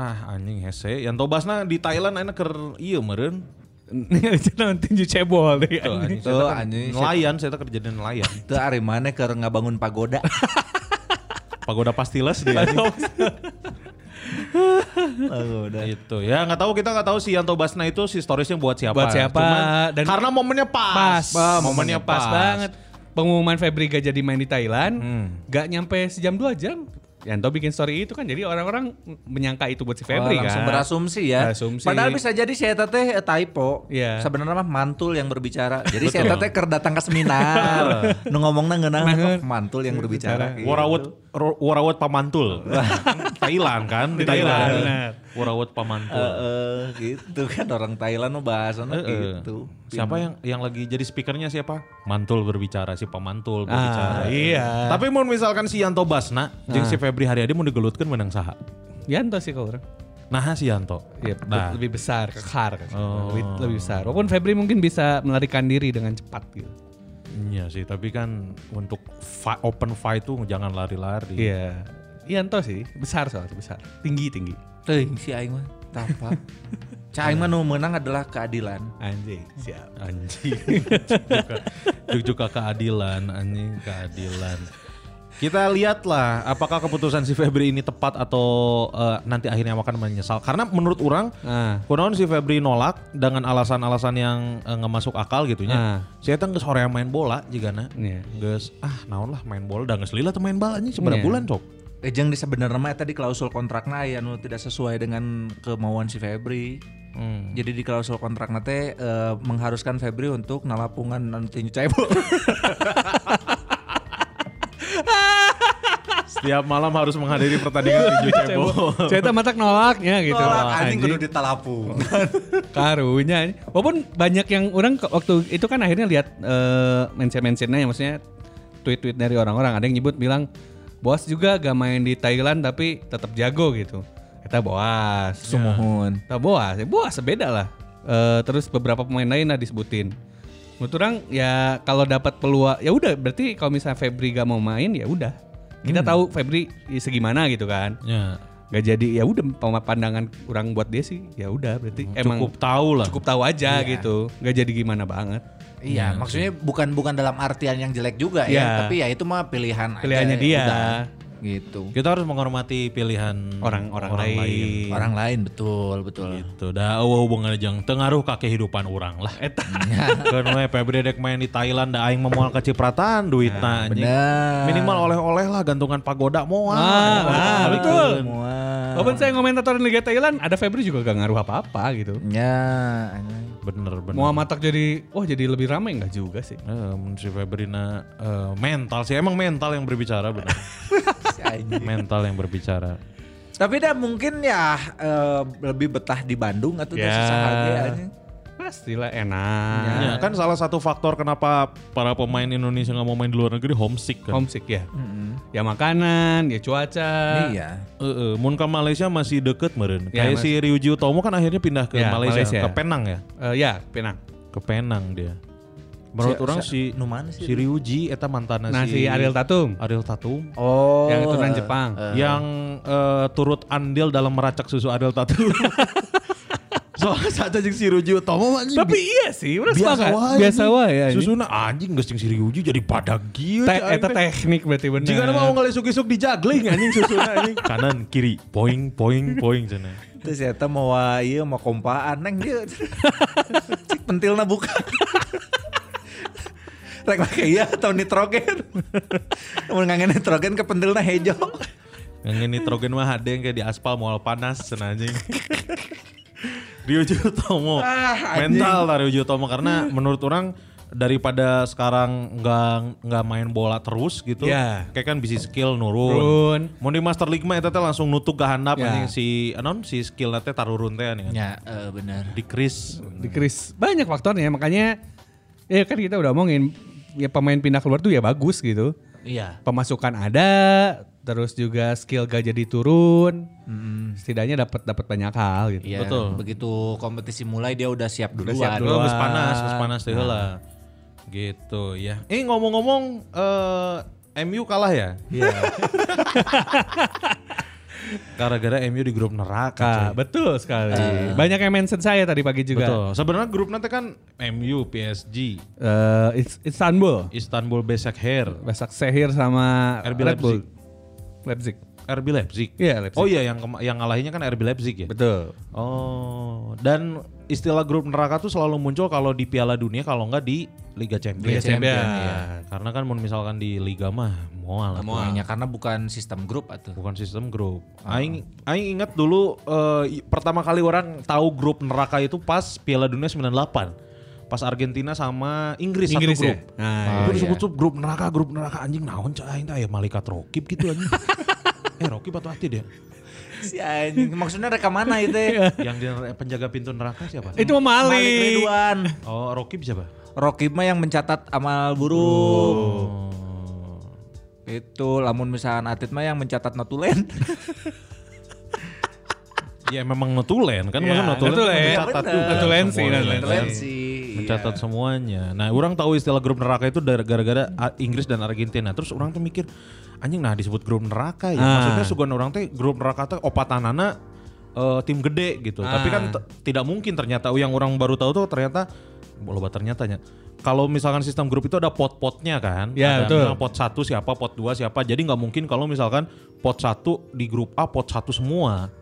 ah anjing hese yang tobasna di Thailand aing keur ieu meureun Jangan tinju cebol deh. Tuh, anjing, Tuh, saya teh anjing. nelayan saya teh kerja di nelayan Teu ari maneh keur ngabangun *laughs* pagoda. pagoda pastiles dia anjing. pagoda. itu ya nggak tahu kita nggak tahu si Yanto Basna itu si storiesnya buat siapa Buat siapa, dan- karena momennya pas pas, Bah, momennya pas, banget. Pengumuman Febri gak jadi main di Thailand, Hmm. gak nyampe sejam dua jam. Yanto bikin story itu kan, jadi orang-orang menyangka itu buat si Oh, Febri langsung kan. berasumsi ya. Berasumsi. Padahal bisa jadi si Eta teh eh, typo. Iya. Sebenarnya mah mantul yang berbicara. Jadi si Eta teh ker datang ke seminar. nu ngomongna ngeunah oh, mantul yang berbicara. gitu. Warawat Ro- Warawat Pamantul *laughs* Thailand kan di Thailand Benar. Warawat Pamantul Eh, eh, gitu kan orang Thailand mah bahasana Eh, eh. gitu. siapa yang yang lagi jadi speakernya siapa Mantul berbicara si Pamantul Ah, berbicara iya. tapi mau misalkan si Yanto Basna jeung si Febri Haryadi mau digelutkan menang saha Yanto sih kalau orang. nah si Yanto Iya, nah lebih besar, kekar. kan. Oh. Lebih, lebih besar. Walaupun Febri mungkin bisa melarikan diri dengan cepat gitu. iya sih tapi kan untuk fi- open fight tuh jangan lari-lari Iya. Yanto sih, besar soalnya, besar. Tinggi-tinggi. Teh si aing mah tapa. Cai mah nu menang adalah keadilan. Anjing, siap. anjing *laughs* juga keadilan anjing keadilan kita lihatlah apakah keputusan si Febri ini tepat atau eh, nanti akhirnya akan menyesal karena menurut orang Ah. Kunaon si Febri nolak dengan alasan-alasan yang eh, nggak masuk akal Ah. gitunya. Saya teh geus hoream main bola jigana. Iya. Geus ah naon lah main bola da geus lila teu main bola anjing seberapa Iya. bulan cok. Eh jeung di sebenarnya mah tadi klausul kontrakna aya nu tidak sesuai dengan kemauan si Febri. Hmm. Jadi di klausul kontrakna teh eh, mengharuskan Febri untuk nalapungan anu nanti cebol. Setiap malam harus menghadiri *laughs* pertandingan tinju cebol. Cerita mata nolaknya gitu. anjing kudu ditalapung. *laughs* Karunya. Walaupun banyak yang orang ke- waktu itu kan akhirnya lihat eh, mention-mentionnya ya maksudnya tweet-tweet dari orang-orang. Ada yang nyebut bilang Boas juga gak main di Thailand tapi tetap jago gitu. Kita Boas. Mohon. Kita Boas. Ya, Boas beda lah. Eh, terus beberapa pemain lain lah disebutin. Menurut orang ya kalau dapat peluang ya udah berarti kalau misalnya Febri gak mau main ya udah. Kita tahu Febri segimana gitu kan Ya, nggak jadi ya udah pema- pandangan orang buat dia sih ya udah berarti Hmm, emang cukup tahu lah. cukup tahu aja gitu nggak jadi gimana banget Iya, maksudnya bukan bukan dalam artian yang jelek juga Ya, Iya. ya, tapi ya itu mah pilihan aja, Pilihannya dia. udah. gitu. Kita harus menghormati pilihan orang-orang lain, Iya. Orang lain betul, betul. Itu Gitu. dah eueuh hubungan jeung teu ngaruh ka kehidupan urang lah. *laughs* Eta. Kan we Febri dek main di Thailand da aing mah moal kacipratan Nah, duitna anjing. Benar. Minimal oleh-oleh lah gantungan pagoda moal. Ah, ah, betul. Mual. Walaupun saya ngomentatorin Liga Thailand, ada Febri juga gak ngaruh apa-apa gitu. Ya, anjing. Bener bener. Muhammad Tak jadi, wah jadi lebih ramai nggak juga sih. Eh, menurut si Febrina eh, mental sih emang mental yang berbicara *laughs* benar. Si anjing. mental yang berbicara. *laughs* Tapi dah mungkin ya eh, lebih betah di Bandung atau yeah. Ya. sesahaja anjing. Pastilah enak. Ya, kan salah satu faktor kenapa para pemain Indonesia nggak mau main di luar negeri homesick kan. Homesick ya. Ya makanan, ya cuaca. Iya. Eh, eh, mun ke Malaysia masih deket meren. Ya, Kayak mas- si Ryuji Utomo kan akhirnya pindah ke Ya, Malaysia, Malaysia. ke Penang ya. Eh, ya, Penang. Ke Penang dia. Menurut Si- orang si- si nu mana sih? si Ryuji eta mantan Nah si Ariel Tatum, Ariel Tatum Oh. yang keturunan Jepang. yang eh, turut andil dalam meracak susu Ariel *laughs* Tatum. Soalnya saat aja si Ryuji Utomo anjing Tapi iya sih, udah biasa sepakat. wae. Biasa wae ya. ini. Susuna anjing geus jeung si Ryuji jadi padag kieu. Te eta teknik berarti bener. Jika nama mau ngelisuk-isuk di juggling anjing susuna anjing. Kanan kiri poing poing poing cenah. Terus ya eta mau iya mau kompaan neng *laughs* dia. Cik pentilna buka. Rek make iya atau nitrogen. Mun ngangen nitrogen ke pentilna hejo. Yang nitrogen mah hadeng kayak di aspal moal panas cenah anjing. Ryuji Utomo mental lah Ryuji Utomo karena menurut orang daripada sekarang nggak nggak main bola terus gitu Ya. kayak kan bisa skill nurun. Turun. Mau di Master League mah eta teh langsung nutuk ke handap Ya. anjing si anon si skill teh tarurun teh anjing. Ya, benar. Di Chris di Kris. Banyak faktornya makanya ya kan kita udah omongin ya pemain pindah keluar tuh ya bagus gitu. Iya. Pemasukan ada, terus juga skill gak jadi turun. Setidaknya dapat dapat banyak hal gitu. Ya, Betul. Begitu kompetisi mulai dia udah siap duluan. Siap dulu habis panas, habis panas Nah. deh lah. Gitu ya. Eh ngomong-ngomong eh, MU kalah ya? Iya. *laughs* Gara-gara MU di grup neraka. Kak, coy. Nah, betul sekali. Banyak yang mention saya tadi pagi juga. Iya. Betul. Sebenarnya grup nanti kan MU, PSG, Eh, Is- Istanbul, Istanbul Besikhair, Basak Sehir sama RB Red Bull. Leipzig. Leipzig. RB Leipzig. Iya, Leipzig. Oh iya yang kema- yang ngalahinnya kan RB Leipzig ya. Betul. Oh, dan istilah grup neraka tuh selalu muncul kalau di Piala Dunia kalau nggak di Liga Champions. Liga Champion. Iya. Karena kan mau misalkan di liga mah moal atuh. Kayaknya karena bukan sistem grup atau Bukan sistem grup. Ah. Aing aing ingat dulu eh, i- pertama kali orang tahu grup neraka itu pas Piala Dunia 98. Pas Argentina sama Inggris, Inggris satu ya? grup. Nah, itu disebut tuh grup neraka, grup neraka anjing naon cah aing teh aya malaikat rokib gitu *laughs* anjing. eh rokib atau hati dia? Si anjing, maksudnya reka mana *laughs* itu ya? Yang dia penjaga pintu neraka siapa? Itu mah Malik Malik. Ridwan. Oh, rokib siapa? Rocky mah yang mencatat amal buruk. Oh. Itu lamun misalkan Atit mah yang mencatat notulen. Ya memang notulen kan Iya, maksudnya notulen, kan notulen. mencatat Bener. juga Notulen sih, semuanya. notulen. Notulen sih. mencatat Iya. semuanya. Nah, orang tahu istilah grup neraka itu dari- gara-gara A- Inggris dan Argentina. Terus orang tuh mikir, anjing nah disebut grup neraka ya. Ah. Maksudnya suguhan orang teh grup neraka teh opatanana eh, tim gede gitu. Tapi kan Ah. t- tidak mungkin ternyata yang orang baru tahu tuh ternyata loba ternyatanya. Kalau misalkan sistem grup itu ada pot-potnya kan, ada Ya, betul. misalkan pot satu siapa, pot 2 siapa. Jadi nggak mungkin kalau misalkan pot satu di grup A pot satu semua.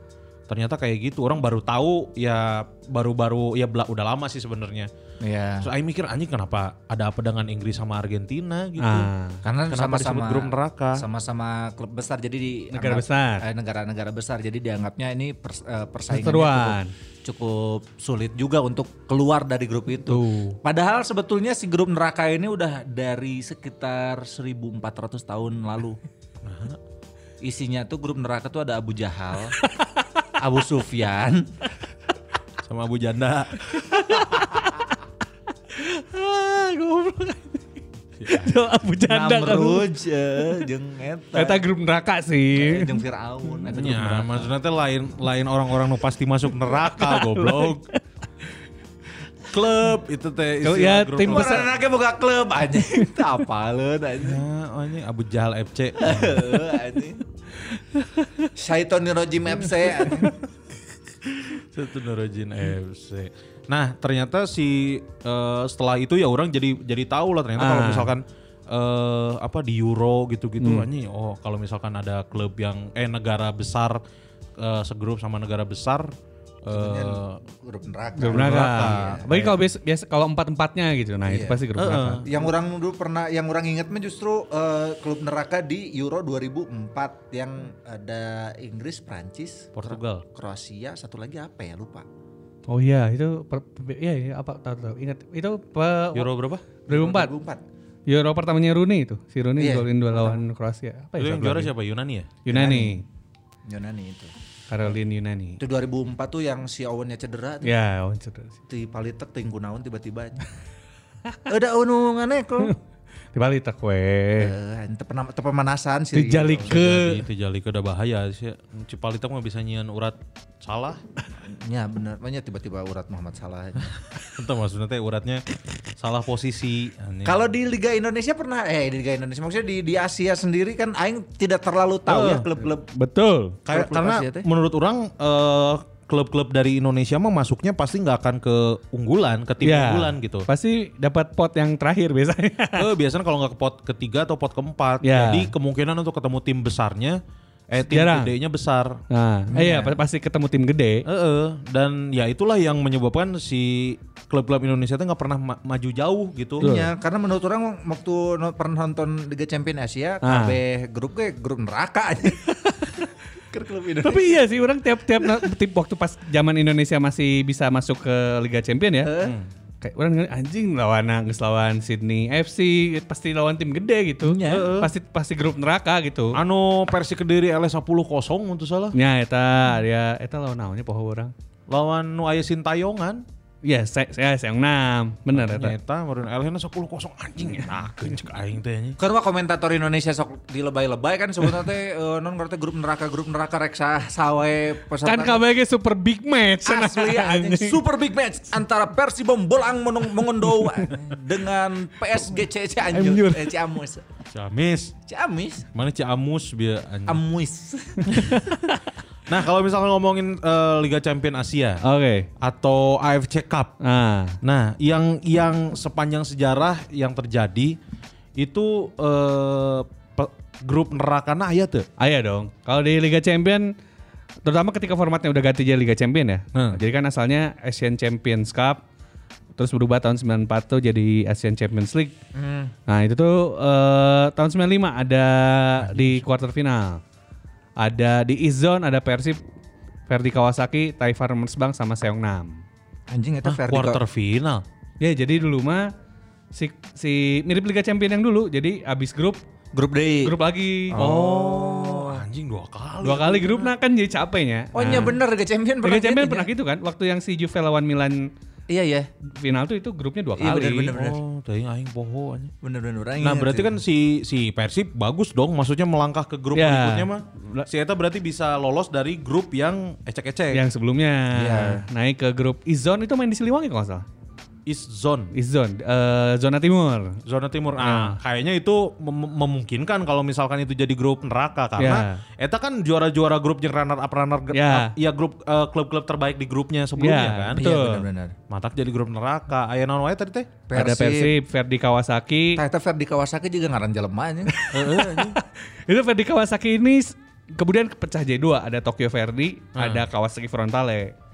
Ternyata kayak gitu orang baru tahu ya baru-baru ya bela- udah lama sih sebenarnya. Iya. Terus Aing mikir anjing kenapa ada apa dengan Inggris sama Argentina gitu. Ah. Karena Kenapa disebut sama-sama grup neraka? Sama-sama klub besar jadi di Negara besar. eh, negara-negara besar jadi dianggapnya ini pers, eh, persaingannya Perseteruan. cukup, cukup sulit juga untuk keluar dari grup itu. Tuh. Padahal sebetulnya si grup neraka ini udah dari sekitar 1400 tahun lalu. *laughs* Isinya tuh grup neraka tuh ada Abu Jahal, *laughs* Abu Sufyan, Sama Abu Janda. *laughs* Ah, goblok. Jauh abu janda kamu. Namruj, eh, jeung Eta eta, eh, grup neraka sih. jeung Firaun, eta grup ya, neraka. maksudnya teh lain lain orang-orang nu pasti masuk *laughs* neraka goblok. Klub itu teh Kalau istilah ya, grup tim neraka. besar. Karena anaknya buka klub aja. *laughs* Apa lu anjing? Ya, oh ini Abu Jahal *laughs* FC. Heeh, anjing. Syaitonir rojim FC anjing. Satu Norojin FC. Nah, ternyata si eh, setelah itu ya orang jadi jadi tahu lah ternyata kalau Ah. Hmm. misalkan eh apa di Euro gitu-gitu anjing, oh kalau misalkan ada klub yang eh negara besar eh, segrup sama negara besar eh, grup neraka. Grup neraka. Bagi kalau biasa, biasa kalau empat-empatnya gitu. Nah, itu pasti grup neraka. Yang orang dulu pernah, yang orang ingat mah justru eh, klub neraka di Euro 2004 yang ada Inggris, Prancis, Portugal. Kro- Kroasia, satu lagi apa ya lupa. Oh iya, itu per, iya, iya, apa tahu tahu. Ingat itu pe, Euro berapa? 2004. 2004. Euro pertamanya Rooney itu. Si Rooney Iya. golin dua lawan Kroasia. Apa Itu yang ya? juara siapa? Yunani ya? Yunani. Yunani itu. Caroline Yunani. Itu 2004 tuh yang si Owennya cedera, tuh. Ya, lawan cedera sih. *laughs* di palitek ting gunaon tiba-tiba. *laughs* Ada unungannya kok. Di Bali tak weh. Eh, teu pernah- teu pemanasan Eh, sih. Dijalike. Itu jali udah bahaya sih. Cipalitak mah bisa nyian urat salah. Ya bener, makanya tiba-tiba urat Muhammad Salah. Entah maksudnya teh uratnya salah posisi. Aneh. Kalau di Liga Indonesia pernah eh di Liga Indonesia maksudnya di di Asia sendiri kan aing tidak terlalu tahu ya klub-klub Betul. Kayak- klub-klub karena Asia teh. menurut orang eh, klub-klub dari Indonesia mah masuknya pasti nggak akan ke unggulan, ke tim Ya, unggulan gitu. Pasti dapat pot yang terakhir biasanya. Eh, biasanya kalau nggak ke pot ketiga atau pot keempat, Ya. jadi kemungkinan untuk ketemu tim besarnya, eh tim Jarang. gedenya besar. Nah, eh, iya pa- pasti ketemu tim gede. Eh, eh. dan ya itulah yang menyebabkan si klub-klub Indonesia tuh nggak pernah ma- maju jauh gitu. Iya, karena menurut orang waktu no- pernah nonton Liga Champion Asia, Ah. kabeh grup gue grup neraka aja. Ke klub Indonesia. Tapi iya sih orang tiap-tiap na- tiap waktu pas zaman Indonesia masih bisa masuk ke Liga Champion ya. Eh. Hmm. Kayak orang denger, anjing lawan geus lawan Sydney FC pasti lawan tim gede gitu. Iya. Heeh. Pasti pasti grup neraka gitu. Anu Persi Kediri LS 10 kosong untuk salah. Ya eta ya eta lawan naonnya poho orang. Lawan nu aya kan? Sintayongan. Ya saya saya yang enam bener eta. Nyata meureun LS 10 kosong anjing. Nah, kencek aing teh anjing. Karena komentator Indonesia sok dilebay-lebay kan sebetulnya teh eh, non ngerti grup neraka grup neraka reksa sawe peserta Kan KBG super big match. asli ya, anjing. super big match antara Persib Bolang Menung- Mengondow dengan PSG CC Anjur eh, Ciamis Ciamis. Ciamis Mana Ciamus biar anjing. Amuis Nah, kalau misalkan ngomongin eh, Liga Champion Asia Oke. atau AFC Cup Nah, Nah, yang yang sepanjang sejarah yang terjadi itu eh, pe- grup neraka nah ya tuh. Ayah Ah, iya dong. Kalau di Liga Champion, terutama ketika formatnya udah ganti jadi Liga Champion ya. Hmm. Jadi kan asalnya Asian Champions Cup, terus berubah tahun 94 tuh jadi Asian Champions League. Hmm. Nah itu tuh eh, tahun 95 ada Nah, di quarter final. Ada di East Zone, ada Persib, Verdi Kawasaki, Taifar Mersbang, sama Seongnam. anjing itu Ferdi Quarter final. Ya jadi dulu mah si, si mirip Liga Champion yang dulu. Jadi abis grup, grup D grup lagi. Oh, anjing dua kali. Dua kali grup nah kan jadi capeknya. Oh iya bener Liga Champion Liga Champion gitu pernah ya? gitu kan? Waktu yang si Juve lawan Milan Iya iya final tuh itu grupnya dua Iya, kali. bener, bener, bener. Oh, teuing aing poho anjing. bener bener bener. Iya, Nah, berarti Iya, kan si si Persib bagus dong, maksudnya melangkah ke grup Ya. berikutnya mah. Si Eta berarti bisa lolos dari grup yang ecek-ecek. Yang sebelumnya Iya. naik ke grup Izon itu main di Siliwangi kalau nggak salah. East Zone. Izon, eh, zona timur. Zona Timur. Iya. Nah, kayaknya itu mem- memungkinkan kalau misalkan itu jadi grup neraka karena Iya. eta kan juara-juara grup jeung runner up runner Ya. ya grup eh, klub-klub terbaik di grupnya sebelumnya Ya, kan. betul. Iya bener bener Matak jadi grup neraka. Aya naon wae tadi teh? Ada Persib, Verdi Kawasaki. Tah eta Ferdi Kawasaki juga ngaran jelema anjing. *laughs* itu Verdi Kawasaki ini s- kemudian pecah jadi dua. Ada Tokyo Verdi, ada Kawasaki Frontale. Ah.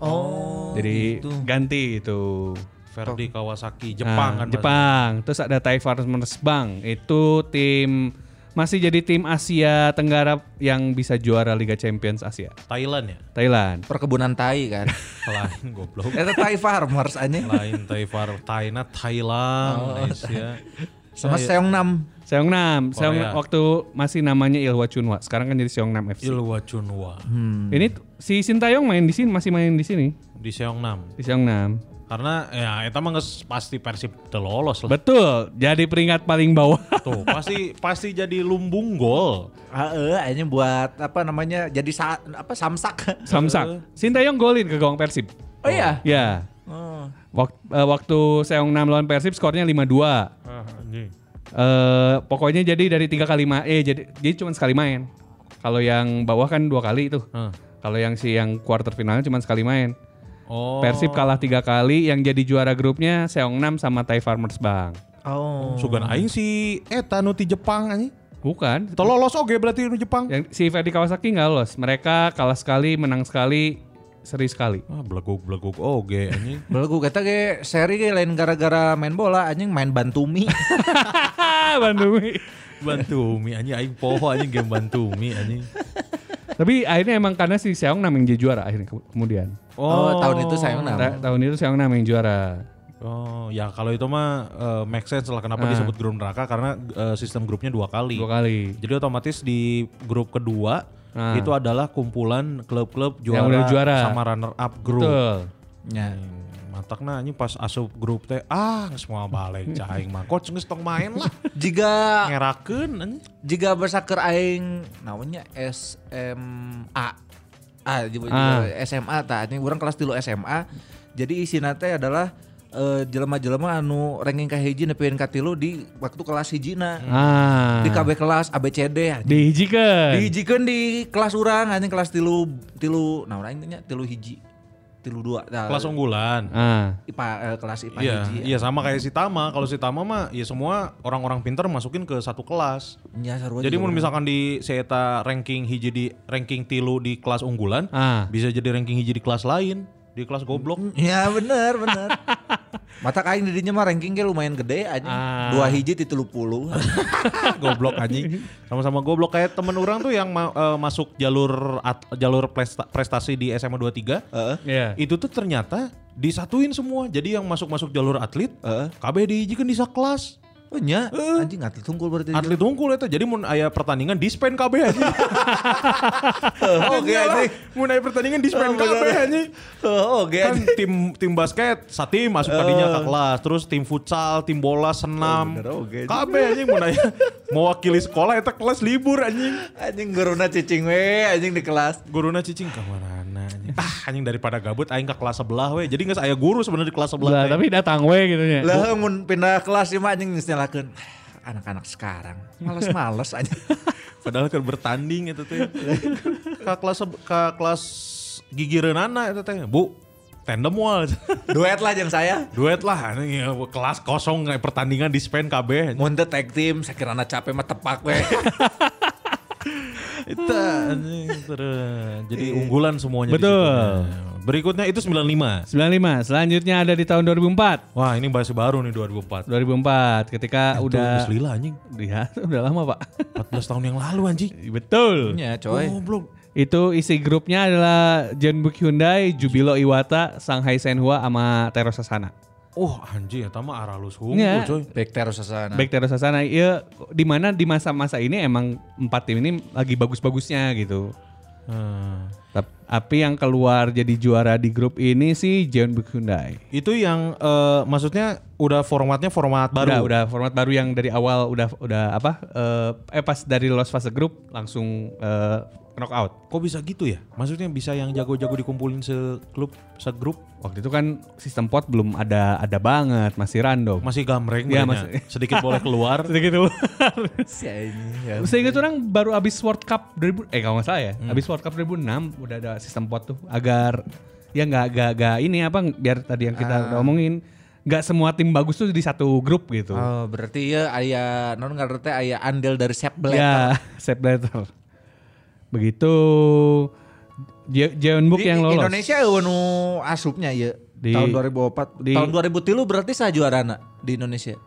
Oh. Jadi ganti itu. Verdi Kawasaki Jepang Nah, kan. Jepang. Terus ada Taifar Mersbang. Itu tim masih jadi tim Asia Tenggara yang bisa juara Liga Champions Asia. bahasa- Thailand ya. Thailand. Perkebunan tai kan. Lain *laughs* goblok. Eta tai farmers anjing. Lain Taifar Taina Oh, Thailand Malaysia. Sama Iya. Seongnam. Seongnam, Seong Korea. waktu masih namanya Ilhwa Chunwa. Sekarang kan jadi Seongnam FC. Ilwa Chunwa Hmm. Ini t- si Sintayong main di sini, masih main di sini di Seongnam. di Seongnam. Karena ya eta mah geus pasti Persib teu lolos lah. Betul, jadi peringkat paling bawah. *laughs* Tuh, pasti pasti jadi lumbung gol. Heeh, anjing buat apa namanya? Jadi sa- apa samsak. Samsak. Sintayong golin ke gawang Persib. Oh iya. Ya. Oh. Wak- eh, waktu Seongnam lawan Persib skornya 5-2. Eh, pokoknya jadi dari tiga kali ma- eh jadi jadi cuma sekali main. Kalau yang bawah kan dua kali itu. Hah. Kalau yang si yang quarter finalnya cuma sekali main. Oh. Persib kalah tiga kali, yang jadi juara grupnya Seongnam sama Thai Farmers Bank. Oh. Sugan aing si eta nu ti Jepang anjing. Ya. Bukan. Teu lolos oge berarti nu Jepang. Yang si Ferdi Kawasaki nggak lolos. Mereka kalah sekali, menang sekali, Serius sekali. Ah, beleguk-beleguk oge anjing. Belum gue kata kayak seri ge lain gara-gara main bola anjing main *laughs* bantumi. Bandungi. Bantumi anjing aing poho anjing game Bantumi anjing. Tapi akhirnya emang karena si Seong Nam yang jadi juara akhirnya ke- kemudian. Oh, tahun itu saya Ta- menang. tahun itu Seong Nam yang juara. Oh, ya kalau itu mah eh, make sense lah kenapa Ah. disebut grup neraka karena eh, sistem grupnya dua kali. Dua kali. Jadi otomatis di grup kedua Ah. itu adalah kumpulan klub-klub juara, Yang udah juara. sama runner up grup. Betul. Ya. Matakna anjing nah, pas asup grup teh ah geus moal balik cah aing mah coach geus tong main *laughs* lah Jika ngerakeun anjing. jika bersaker aing namanya SMA. Ah, juga, Ah. SMA ta anjing urang kelas dulu SMA. Jadi isina teh adalah eh, jelema-jelema anu ranking ka hiji nepian ka tilu di waktu kelas hijina. Ah. Di KB kelas ABCD anjing. Kan. Dihijikan. Dihijikeun di kelas urang anjing kelas tilu tilu nah urang nya tilu hiji tilu dua nah, Kelas unggulan. Ah. IPA eh, kelas IPA Iya, hiji. iya sama kayak si Tama. Kalau si Tama mah ya semua orang-orang pintar masukin ke satu kelas. Ya, Oh, sarua Jadi iya. juga urang. mun misalkan di Seeta ranking hiji di ranking tilu di kelas unggulan, Ah. bisa jadi ranking hiji di kelas lain, di kelas goblok. Ya bener *laughs* bener. Mata kain dirinya mah ranking kayak lumayan gede aja. Ah. Dua hiji di tilu *laughs* puluh. Ah, goblok anjing. Sama-sama goblok kayak temen orang tuh yang ma- eh, masuk jalur at- jalur presta- prestasi di SMA 23. Iya. Itu tuh ternyata disatuin semua. Jadi yang masuk-masuk jalur atlet, KB dihijikan kan di kelas. Oh nya, Eh. anjing atlet tunggul berarti. Atlet unggul itu. Jadi mun aya pertandingan dispen KB aja. *laughs* Oh, Oke anjing. Mun aya pertandingan Oh, dispen KB bener. anjing. Oh, Oke kan anjing. tim tim basket sati masuk tadinya ke kelas terus tim futsal tim bola Oh, senam bener, oke. kabeh anjing mau nanya *laughs* mewakili sekolah eta kelas libur anjing Anjing geruna cicing we anjing di kelas. guruna cicing ka warana anjing ah anjing daripada gabut aing ke kelas sebelah we jadi geus aya guru sebenarnya di kelas sebelah Lah, teh. tapi datang we gitu nya. Lah mun pindah kelas sih mah anjing nyelakeun. Anak-anak sekarang males-males *laughs* anjing. padahal kan bertanding itu teh ka kelas seb- ka kelas gigi renana itu teh bu tandem wall Duet lah jeung saya. *laughs* duet lah anjing ya, kelas kosong kayak pertandingan di spen kabeh Mun teu tag team sakirana capek mah tepak we. Itu anjing terus. Jadi unggulan semuanya di Iya. Betul. situ. Berikutnya itu 95. 95. Selanjutnya ada di tahun 2004. Wah, ini bahasa baru nih 2004. 2004 ketika udah Tuh, lila anjing. Iya, *laughs* udah lama, Pak. 14 tahun yang lalu anjing. Betul. Ya coy. Goblok. Itu isi grupnya adalah Jeonbuk Hyundai, Jubilo Iwata, Shanghai Senhua sama Tero Sasana. Oh, anjing eta mah aralus hungu Iya. coy. *laughs* Back terus sasana. Baik Tero Sasana, iya di mana di masa-masa ini emang empat tim ini lagi bagus-bagusnya gitu. Eh, Tap- Tapi yang keluar jadi juara di grup ini sih Jeonbuk Hyundai. Itu yang eh, maksudnya udah formatnya format baru. Udah, udah format baru yang dari awal udah udah apa eh, eh pas dari lolos fase grup langsung eh, knockout. Kok bisa gitu ya? Maksudnya bisa yang jago-jago dikumpulin seklub, segrup Waktu itu kan sistem pot belum ada ada banget, masih random. masih gamreng Iya, badannya. masih- *laughs* sedikit boleh keluar. Sedikit dulu. Si anjing, ya. *laughs* Saya ingat orang baru abis World Cup 2000 eh kalau nggak salah ya, Hmm. abis World Cup 2006 udah ada sistem pot tuh agar ya nggak nggak nggak ini apa biar tadi yang kita Ah. udah omongin nggak semua tim bagus tuh di satu grup gitu. Oh, berarti ya ayah non ngerti teh aya andil dari Sepp Blatter. *laughs* Ya, Sepp Blatter. Begitu Je- Jeonbuk yang lolos. Indonesia eueuh nu asupnya ya Di- tahun 2004 di- tahun 2003 berarti saya juarana di Indonesia.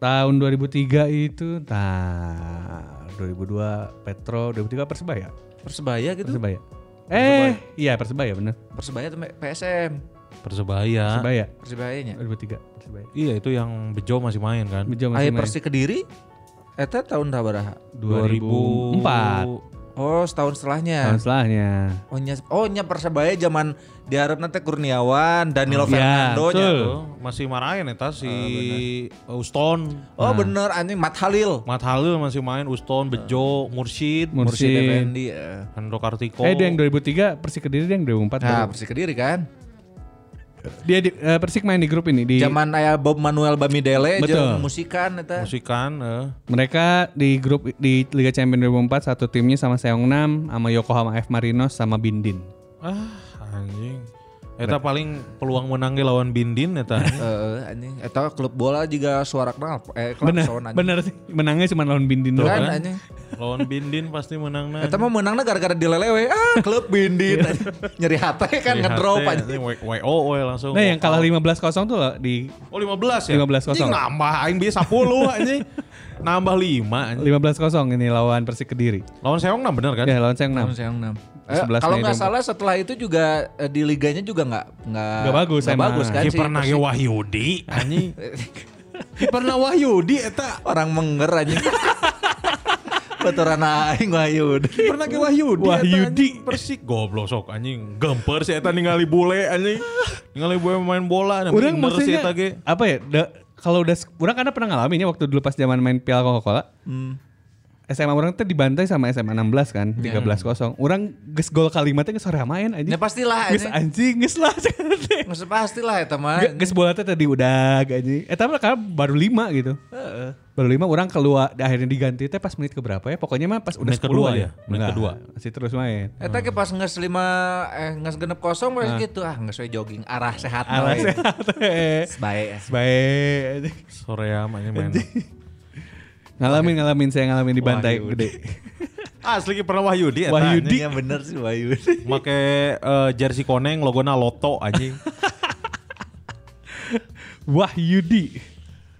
Tahun 2003 itu, nah 2002 Petro, 2003 Persebaya. Persebaya gitu. Persebaya, Persebaya. Eh, iya Persebaya bener. tuh PSM. Persebaya. Persebaya. Persebayanya. 2003 Persebaya. Iya, itu yang Bejo masih main kan. Bejo Aya masih main. Persi Kediri eta tahun sabaraha? 2004. Oh, setahun setelahnya. Tahun setelahnya. Oh nya, oh nya Persebaya zaman diharap nanti Kurniawan, Danilo Ya, Fernando nya. betul. Oh, masih marahin eta si Ah, Uston. Oh bener anjing Mat Halil. Mat Halil masih main Uston, Bejo, Mursyid, Mursyid. Effendi, eh. Hendro Kartiko. Eh, dia yang 2003 Persik Kediri, dia yang 2004. Nah, baru. Persi Kediri kan. Dia di, eh, Persik main di grup ini di Zaman aya Bob Manuel Bamidele Iya. Betul. jeung musikan eta. musikan eh. mereka di grup di Liga Champions 2004 satu timnya sama Seongnam, sama Yokohama F Marinos, sama Bindin. Ah, anjing. Eta paling peluang menangnya lawan Bindin eta. *laughs* Heeh, Eh, anjing. Eta klub bola juga suara kenal eh Bener, klakson anjing. bener sih. Menangnya cuma lawan Bindin Kan, doang. anjing. lawan Bindin pasti menangna. Eta mah menangnya gara-gara dilelewe. Ah, klub bindit. anjing. Nyeri hati kan Di ngedrop hati, anjing. anjing, W- WO we langsung. Nah yang kalah 15-0 tuh di Oh 15 ya? 15-0. Anjing nambah aing bisa 10 anjing. Nambah 5 anjing. 15-0 ini lawan Persik Kediri. Lawan Seong nah bener kan? Ya lawan Sayang 6. Sayang enam. Di Eh, sebelas kalau Mei nggak dong. salah setelah itu juga eh, di liganya juga nggak nggak Nggak bagus nggak emang. bagus kan sih. Kiper Nage Wahyudi *laughs* anjing. Kiper Nage Wahyudi eta. orang menger anjing. Baturan aing Wahyu. Kiper Nage Wahyudi. eta, Wahyudi. anjing. Persik goblok sok anjing. Gemper sih eta ningali bule anjing. Ningali bule main bola nah, Orang bener sih maksudnya eta ge. apa ya? da- kalau udah orang karena pernah ngalaminnya waktu dulu pas zaman main Piala Coca-Cola. Hmm. SMA orang tuh dibantai sama SMA 16 kan, Iya. 13-0. Orang geus gol kalimatnya geus sore main anjing. Ya *laughs* pastilah Geus anjing. anjing geus lah. *laughs* Nggak pastilah ya teman. Ge- Geus bola teh tadi udah anjing. Eh tapi karena baru 5 gitu. Baru 5 orang keluar akhirnya diganti teh pas menit ke berapa ya? Pokoknya mah pas udah Menit kedua 10-an ya? Menit Enggak, kedua. Masih terus main. *laughs* Eta ke pas nges lima eh nges genep kosong kayak gitu ah nges we jogging arah sehat Alah we. sehat. eh. Baik. ya. Baik. anjing. Soream anjing main. Ngalamin ngalamin saya ngalamin di bantai gede. Asli kiper Wahyudi eta. Wahyudi. Anjingnya Nah, bener sih Bayu. Make eh, jersey koneng logona Loto anjing. Wah Yudi.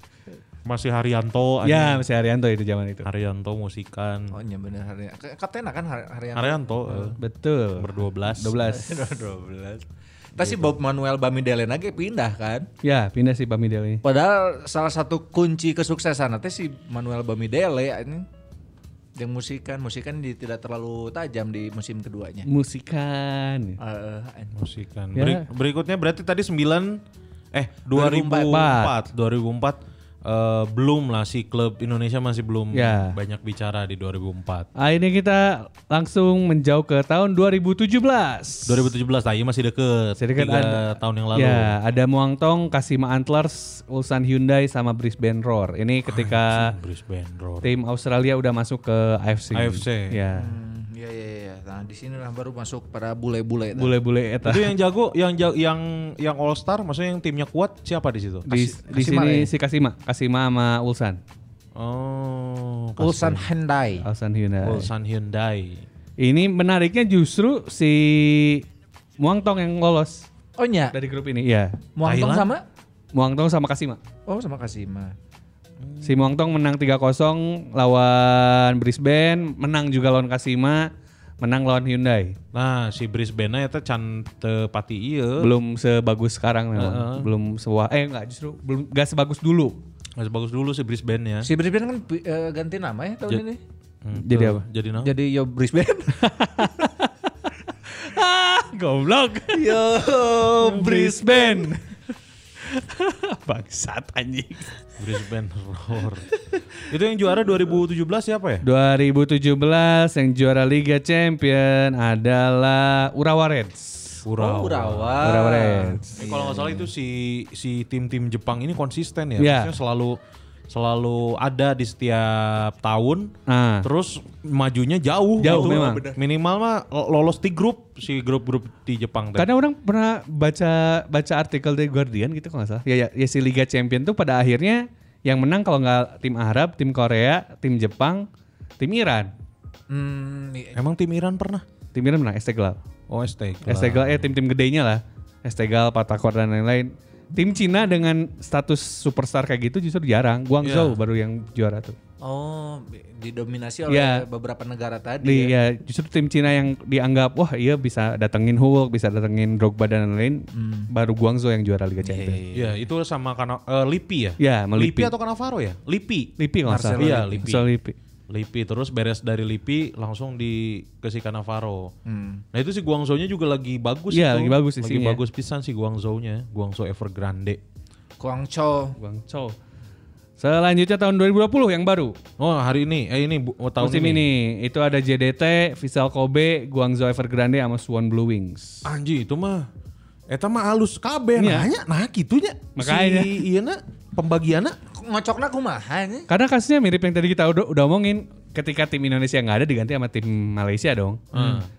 *laughs* Masih Haryanto anjing. Ya masih Arianto itu zaman Oh, iya. itu. Haryanto musikan. Oh iya bener hari. Kapten kan hari hari yang *laughs* Haryanto eh, Betul. berdua belas. 12. 12. Tapi si Bob Manuel Bamidelen lagi pindah kan. ya pindah sih Pamidel ini. Padahal salah satu kunci kesuksesan nanti si Manuel Bamidele ya, ini yang musikan musikan di, tidak terlalu tajam di musim keduanya. Iya. Musikan. Eh, anjing. Musikan. Ya. Beri- berikutnya berarti tadi 9 eh 2004 2004, eh, belum lah si klub Indonesia masih belum Ya. banyak bicara di 2004. Ah, ini kita langsung menjauh ke tahun 2017. 2017 tadi masih deket, Sedikit tiga kan ada- tahun yang lalu. Ya, ada Muang Thong, Kasima Antlers, Ulsan Hyundai sama Brisbane Roar. Ini Ah, ketika Brisbane Roar. tim Australia udah masuk ke AFC. AFC. Ya. Hmm, Iya iya iya. Nah, di sinilah baru masuk para bule-bule. tadi. Bule-bule eta. Itu yang jago, yang ja- yang yang all star, maksudnya yang timnya kuat siapa di situ? Di, di Kasima sini ya? si Kasima, Kasima sama Ulsan. Oh, Ulsan Hyundai. Ulsan Hyundai. Ulsan Hyundai. Ini menariknya justru si Muang Thong yang lolos Oh iya. dari grup ini. Iya. Muangtong Thailand? sama? Muang Thong sama Kasima. Oh sama Kasima. Hmm. Si Muang Thong menang 3-0 lawan Brisbane, menang juga lawan Kasima, menang lawan Hyundai. Nah, si Brisbane itu can teu pati iya. Belum sebagus sekarang memang. Belum sewa eh enggak justru belum enggak sebagus dulu. Masih bagus dulu si Brisbane ya. Si Brisbane kan pi- eh, ganti nama ya tahun Ja- ini. Hmm, Jadi tuh, apa? Jadi no. Jadi yo *laughs* Brisbane. Ah, goblok. yo Oh, Brisbane. *laughs* Bangsat anjing. Brisbane Roar. *laughs* Itu yang juara 2017 siapa ya? 2017 yang juara Liga Champion adalah Urawa Reds. Oh, Urawa. Urawa. Urawa Reds. Eh, kalau nggak salah itu si si tim-tim Jepang ini konsisten ya. Iya. Maksudnya selalu selalu ada di setiap tahun. Ah. Terus majunya jauh. Jauh, memang. Minimal mah lo- lolos di grup si grup-grup di Jepang. teh. Karena orang pernah baca baca artikel dari Guardian gitu kalau nggak salah. Ya, ya, ya si Liga Champion tuh pada akhirnya yang menang kalau nggak tim Arab, tim Korea, tim Jepang, tim Iran. Hmm, i- Emang tim Iran pernah? Tim Iran menang Esteglal. Oh, STK. Esteglal eh tim-tim gedenya lah. Esteglal, Patakor dan lain-lain. Tim Cina dengan status superstar kayak gitu justru jarang. Iya. Guangzhou baru yang juara tuh. oh bi- didominasi oleh Ya. beberapa negara tadi. Iya. Di, ya justru tim Cina yang dianggap wah iya bisa datengin Hulk, bisa datengin Drogba dan lain-lain, Hmm. baru Guangzhou yang juara Liga Champions. Ya, itu sama karena eh, Lippi ya? Ya, Iya. sama Lippi Lippi. atau Cannavaro ya? Lippi. Lipi kalau nggak salah. Marcelo Iya, Lippi. Marcelo Lippi. Lippi terus beres dari Lippi langsung di ke si Cannavaro. Hmm. Nah itu si Guangzhou-nya juga lagi bagus itu. Iya, lagi bagus Lagi isinya. bagus pisan si Guangzhou-nya, Guangzhou Evergrande. Guangzhou. Guangzhou. Selanjutnya tahun 2020 yang baru. Oh, hari ini eh ini bu, oh, tahun Musim ini. ini. itu ada JDT, Vissel Kobe, Guangzhou Evergrande sama Swan Blue Wings. Anji itu mah eta mah alus kabeh Iya. nanya nah kitunya. Makanya. Si ieu pembagiannya Ngocokna kumaha nih? Karena kasusnya mirip yang tadi kita udah, udah omongin. Ketika tim Indonesia nggak ada diganti Hmm. Nah, sama tim Malaysia dong.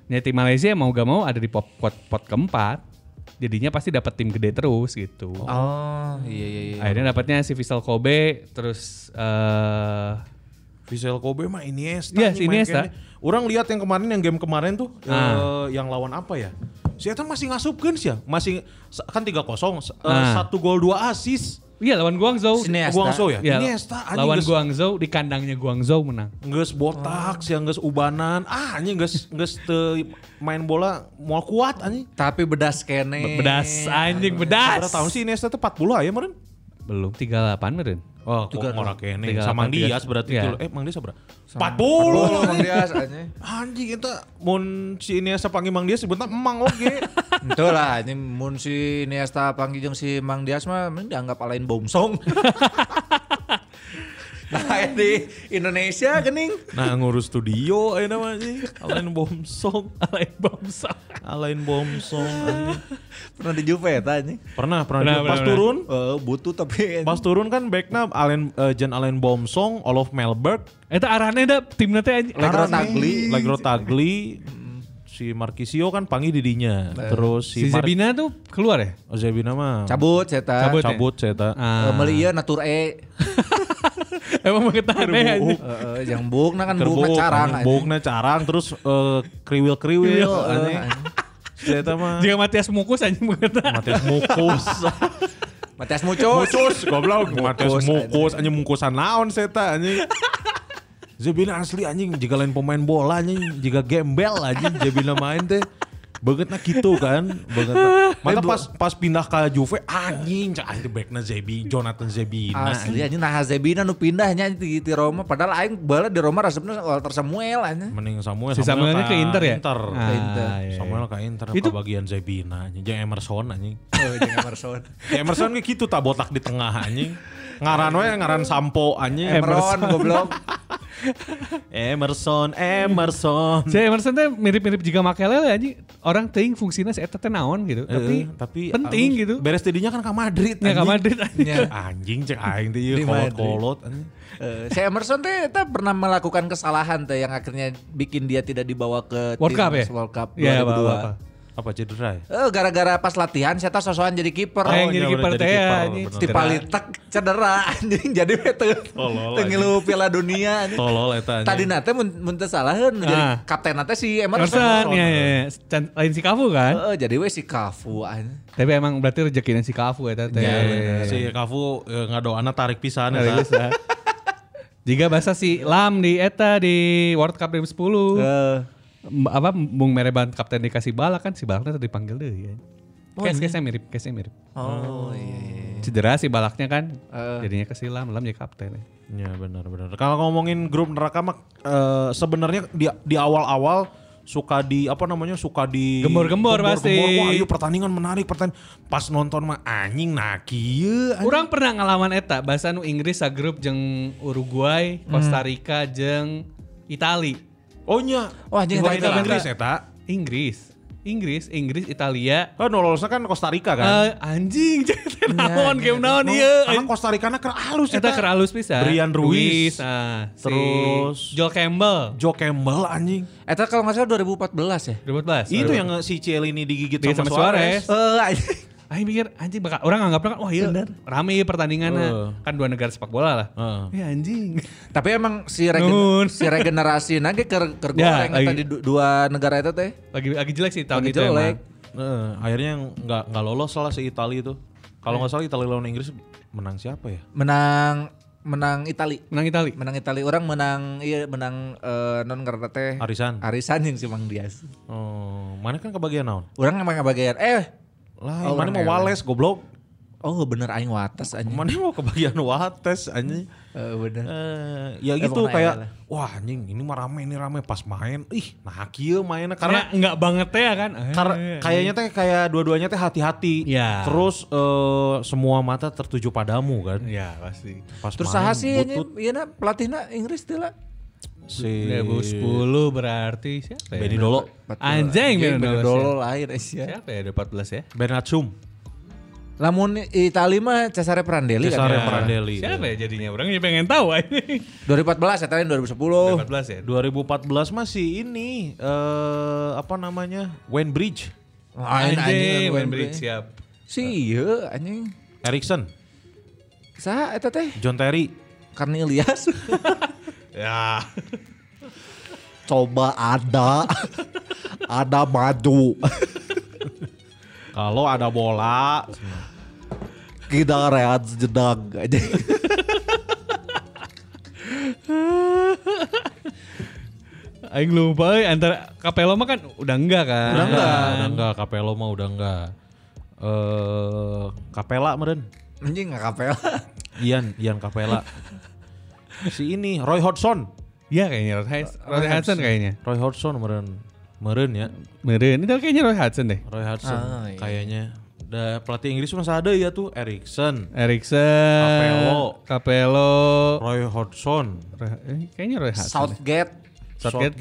Ya tim Malaysia mau gak mau ada di pot pot, pot keempat. jadinya pasti dapat tim gede terus gitu. Oh, iya iya iya. Akhirnya dapatnya si Vissel Kobe terus eh Vissel Kobe mah Iniesta. Iya, nih si main Iniesta. kayaknya. Orang lihat yang kemarin yang game kemarin tuh Ah. eh, yang lawan apa ya? Si Eta masih ngasupkeun sih ya. Masih kan 3-0, eh, Ah. satu gol dua assist. iya lawan Guangzhou. Sini Iniesta. Guangzhou ya? Iya, Iniesta anjing lawan geus- Guangzhou di kandangnya Guangzhou menang. Nges botak, siang nges ubanan, ah anjing nges nges te main bola mau kuat anjing. Tapi bedas kene. Eh, Bedas anjing bedas. Berapa tahun sih Iniesta tuh ya, 40 aja meren? Belum 38 meren. Oh, kok ngora kene. Tiga Sama delapan, Mang tiga- Dias berarti iya. itu. Eh, Mang Dias berapa? 40. Mang Hmm. Dias anjing. Anjing itu mun si Iniesta panggil Mang Dias sebentar emang oge. *laughs* Itu lah, ini mun si Niesta Panggi jeung si Mang Dias mah mending dianggap alain *laughs* bomsong. nah, di Indonesia gening. Nah ngurus studio ayo namanya Alain Bomsong Alain Bomsa. Alain Bomsong *laughs* anjing. Pernah di Juve eta anjing. Pernah pernah, Pernah, dia- pernah, Pas pernah. turun Eh, butuh tapi Pas turun kan backnya Alain eh, Jan Alain Bomsong Olof Melberg Eta arahnya da timnya teh anjing. Legro Tagli. Legro Tagli Si Marquisio kan panggil didinya Terus si, Si Mar- Zebina tuh keluar ya? Oh, Zebina mah cabut Ah, eta. Cabut. Cabut. ya? Cabut Ceta Meuli ieu natur e. Ah, *laughs* Emang banget aneh anjing. Heeh, yang buk nah kan buk Kerbuk carang anjing, anjing. Bukna carang Terus eh, kriwil-kriwil Kriwil, anjing. eh, anjing. Ceta *laughs* mah Jika Matias Mukus anjing banget. Matias Mukus Matias Mucus. Mukus, goblok Mukus, Matias Mukus anjing mukusan naon seta anjing. Jebina asli anjing jika lain pemain bola anjing, jika gembel anjing Jebina main teh bangetna gitu kan, bangetna. Mata pas pas pindah ke Juve anjing cak anjing backna Zebi, Jonathan Zebina. Asli anjing nah Zebina nu pindahnya di, di Roma padahal aing bala di Roma resepna Walter Samuel anjing. *laughs* Mending Samuel, Si Samuelnya ke Inter ya? Inter. Ah, Inter. iya, iya. Samuel ke Inter Itu- ke bagian Zebina anjing, jeung Emerson anjing. Oh, jeung Emerson. Ya Emerson kayak gitu tak botak di tengah anjing. Ngaran we ngaran Sampo anjing. Emerson goblok. Emerson, Emerson. *laughs* Si Emerson teh mirip-mirip jika Makelele anjing. Orang teuing fungsinya si eta teh naon gitu. *laughs* Tapi Eh, tapi penting harus- gitu. Beres tidinya kan ke Madrid. Ya ke anjing. Madrid anjing. Ya, Anjing cek aing teh ieu Di Madrid. kolot-kolot anjing. Eh, si Emerson teh eta pernah melakukan kesalahan teh yang akhirnya bikin dia tidak dibawa ke World Cup ya? timnas World Cup Iya, apa-apa. 2002. Apa cedera ya? Eh, gara-gara pas latihan saya teh sosokan jadi kiper. Oh, iya, yang jadi bener, kiper jadi teh kiper, anjing. bener. Tipalitek cedera *laughs* anjing jadi teu Tolol, teu ngilu Piala Dunia anjing. Tolol eta Tadi anjing. nate mun mun teu salahkeun jadi Ah. kapten nate si Emerson Emerson. ya, ya, ya. Can- lain si Kafu kan. Heeh, jadi we si Kafu anjing. Tapi emang berarti rezekinya si Kafu eta Iya, Iya, teh. Ya, Si Kafu eh, ngadoana tarik pisan Tarik eta. pisan. Jika bahasa si Lam di eta di World Cup 2010. M- apa Bung Mereban kapten dikasih bala kan si balaknya tadi dipanggil deh ya. Case case mirip, case mirip. Oh iya iya. Cedera si balaknya kan, jadinya ke si Lam, Lam jadi kapten. *laughs* Ya benar-benar. Kalau ngomongin grup neraka mah eh, sebenarnya di di awal-awal suka di apa namanya suka di Gembor-gembor pasti. Wah, iya pertandingan menarik pertandingan. Pas nonton mah anjing nah kieu anjing. Kurang pernah ngalaman eta bahasa nu Inggris sa grup jeung Uruguay, Hmm. Costa Rica jeung Itali. Oh nya. Wah, anjing, Bukan eta- eta- Inggris eta. Inggris, Inggris, Inggris, Italia. Kan nololosnya kan Costa Rica kan. Iya, Eh, anjing, *laughs* jadi naon game naon Karena ieu. Costa Rica na keur halus Eta keur alus pisan. Brian Ruiz. ah, si Terus- Joel Campbell. Joe Campbell anjing. Eta Eh, kalau nggak salah 2014 ya. 2014. Itu yang eh, si Cielini digigit Digigit sama, sama Suarez. Suarez. Eh anjing. Aing pikir anjing bakal orang anggapnya kan wah iya rame ya pertandingannya. Heeh. Kan dua negara sepak bola lah. Heeh. Ya anjing. *laughs* Tapi emang si, regen, Nuhun. si regenerasi nage ker ker Ya, goreng lagi. eta di du- dua negara itu teh. Lagi lagi jelek sih tahun Lagi itu jelek. emang. Eh, akhirnya nggak nggak lolos salah si Itali itu. Kalau nggak salah Itali lawan Inggris menang siapa ya? Menang menang Itali. Menang Itali. Menang Itali orang menang iya menang eh, non karena teh Arisan. Arisan yang si Mang Dias. Oh, mana kan kebagian naon? Orang emang kebagian eh Lah, Oh, mana mau orang Wales goblok. oh bener aing wates anjing. Mana mau kebagian Wates anjing. Eh, bener. Eh, ya Eh, pokoknya gitu ada kayak lah. wah anjing ini mah rame ini rame pas main ih nah kieu mainnya karena Karena enggak banget ya kan. Karena kayaknya teh kayak dua-duanya teh hati-hati. Ya. Terus eh, semua mata tertuju padamu kan. ya pasti. Pas Terus main, saha sih ini Iya, butut ieu na pelatihna nah, Inggris teh lah. si 2010 berarti siapa ya? Iya. Benny Dolo, Anjing Anjing, Benny Iya, bener eh, Dolo. dolo lain Asia. Siapa ya 2014 ya? Benacum, Lamun Itali mah Cesare Prandelli kan. Cesare Prandelli. Siapa ya jadinya? Orang jadi pengen tahu *laughs* anjing. 2014 Itali Oh. 2010. 2014 ya. 2014 masih ini eh apa namanya? Wayne Bridge. Lain Anjing, anjing, main Wembley. beli siap. Si iya anjing. Erikson, Sa eta teh John Terry. *laughs* Cornelius. Ya. Coba ada. ada maju. Kalau ada bola, Kita rehat sejenak aja. Aing lupa euy, antara Capello mah kan udah enggak kan. udah enggak, udah enggak Capello mah udah enggak. Eh, Capella meren. anjing ngakapel. Ian, Ian *laughs* Capella. si ini Roy Hodgson. Iya kayaknya Roy Hudson, Roy Hudson kayaknya. Roy Hodgson meren. Meren ya. Meren, itu kayaknya Roy Hudson deh. Roy Hodgson Ah, iya. kayaknya. Da, pelatih Inggris masa ada ya tuh Erikson, Erikson, Capello. Capello, Roy Hodgson, Roy- eh, kayaknya Roy Hudson. deh. Southgate. Southgate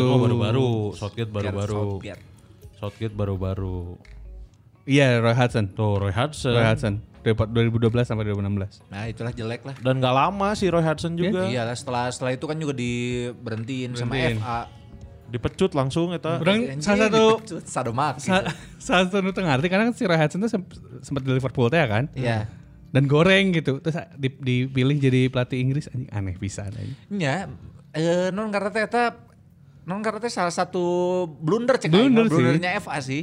Southgate oh, baru-baru, Southgate baru-baru, Southgate. Southgate baru-baru. Iya, Roy Hudson. Tuh Roy Hodgson. Roy Hudson. Dari 2012 sampai 2016. Nah, itulah jelek lah. Dan gak lama sih Roy Hodgson juga. Iya lah setelah setelah itu kan juga diberhentiin sama Berhentiin. FA. Dipecut langsung eta. Orang Anjing, salah satu dipecut, *laughs* sadomaso. sa- *laughs* salah satu tengah arti karena kan si Roy Hudson tuh sempat di Liverpool teh ya kan. Iya. Dan goreng gitu. Terus di- dipilih jadi pelatih Inggris anjing aneh pisan anjing. Nya, eh, non karena teh eta non karena teh salah satu blunder cek aing mah, Blunder sih. blundernya FA sih.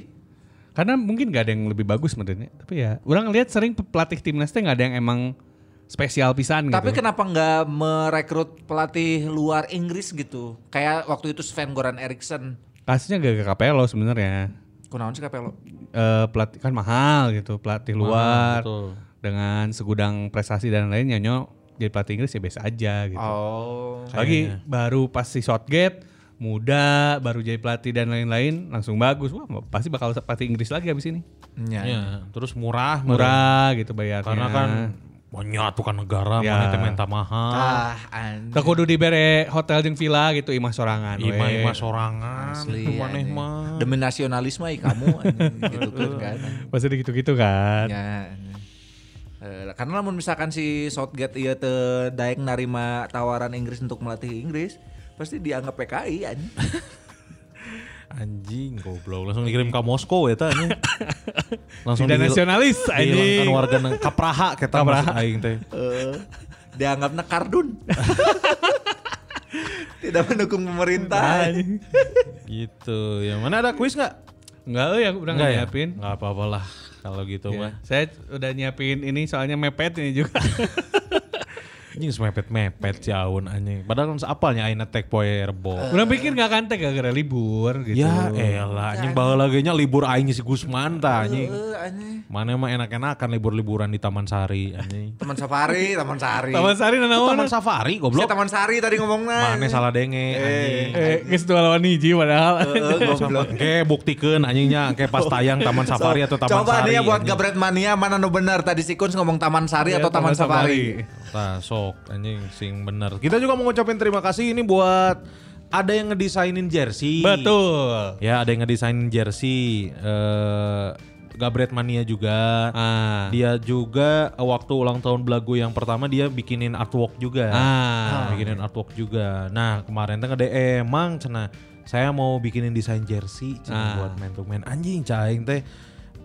Karena mungkin gak ada yang lebih bagus menurutnya. Tapi ya, orang lihat sering pe- pelatih timnas teh gak ada yang emang spesial pisan Tapi gitu. kenapa nggak merekrut pelatih luar Inggris gitu? Kayak waktu itu Sven Goran Eriksson. Kasusnya gak ke Capello sebenarnya. Kunaon sih Kapelo? Eh pelatih kan mahal gitu, pelatih luar betul. dengan segudang prestasi dan lainnya nyo jadi pelatih Inggris ya biasa aja gitu. Oh. Lagi baru pasti Southgate muda baru jadi pelatih dan lain-lain langsung bagus wah pasti bakal pelatih Inggris lagi abis ini Nya. Ya, terus murah, murah. murah gitu bayarnya Karena kan banyak tuh kan negara Ya. mana teh minta Ah, mahal. anjing. Tak kudu dibere hotel jeung villa gitu imah sorangan. we. Ima-ima iya. sorangan, Asli, maneh anjing. mah. Demi nasionalisme ai kamu *laughs* anjing, gitu kan. kan. Pasti gitu-gitu kan. Ya. Eh, karena namun misalkan si Southgate ieu teu daek narima tawaran Inggris untuk melatih Inggris, pasti dianggap PKI *laughs* anjing. Anjing goblok langsung dikirim ke Moskow ya *laughs* tanya. langsung Tidak dihil- nasionalis dihilangkan anjing. warga neng kapraha kita maksud aing teh. Eh, dianggapnya kardun. *laughs* Tidak mendukung pemerintah. Gitu. Yang mana ada kuis nggak? Enggak euy aku udah Nggak ya? nyiapin. Nggak apa-apalah kalau gitu Ya, mah. Saya udah nyiapin ini soalnya mepet ini juga. *laughs* Anjing semepet-mepet si Aun anjing. Padahal kan seapalnya aing tag poe rebo. udah pikir gak kan teh gara-gara libur gitu. Ya elah anjing baheula ge nya libur aing si Gusman tah anjing. Eh, anjing. Mana emang enak-enakan libur-liburan di Taman Sari anjing. Taman Safari, Taman Sari. Taman Sari Taman nanaon? Safari Si goblok. Taman Sari tadi ngomongnya. Mana salah denge anjing. Eh, geus dua lawan hiji padahal. Eh, goblok. Oke, buktikan anjingnya kayak pas tayang Taman Safari atau Taman Coba Sari. nih ya buat anjing. Gabret Mania mana no benar tadi si Kunz ngomong Taman Sari atau Iya, Taman, Safari. Nah, sok anjing sing bener. Kita juga mau ngucapin terima kasih ini buat ada yang ngedesainin jersey. *laughs* Betul. Ya, ada yang ngedesainin jersey eh Gabret Mania juga. Ah. Dia juga eh, waktu ulang tahun Belagu yang pertama dia bikinin artwork juga. Ah. Nah, Bikinin artwork juga. Nah, kemarin teh nge-DM, "Mang, cenah, saya mau bikinin desain jersey cenah Ah. buat man to man." Anjing caing teh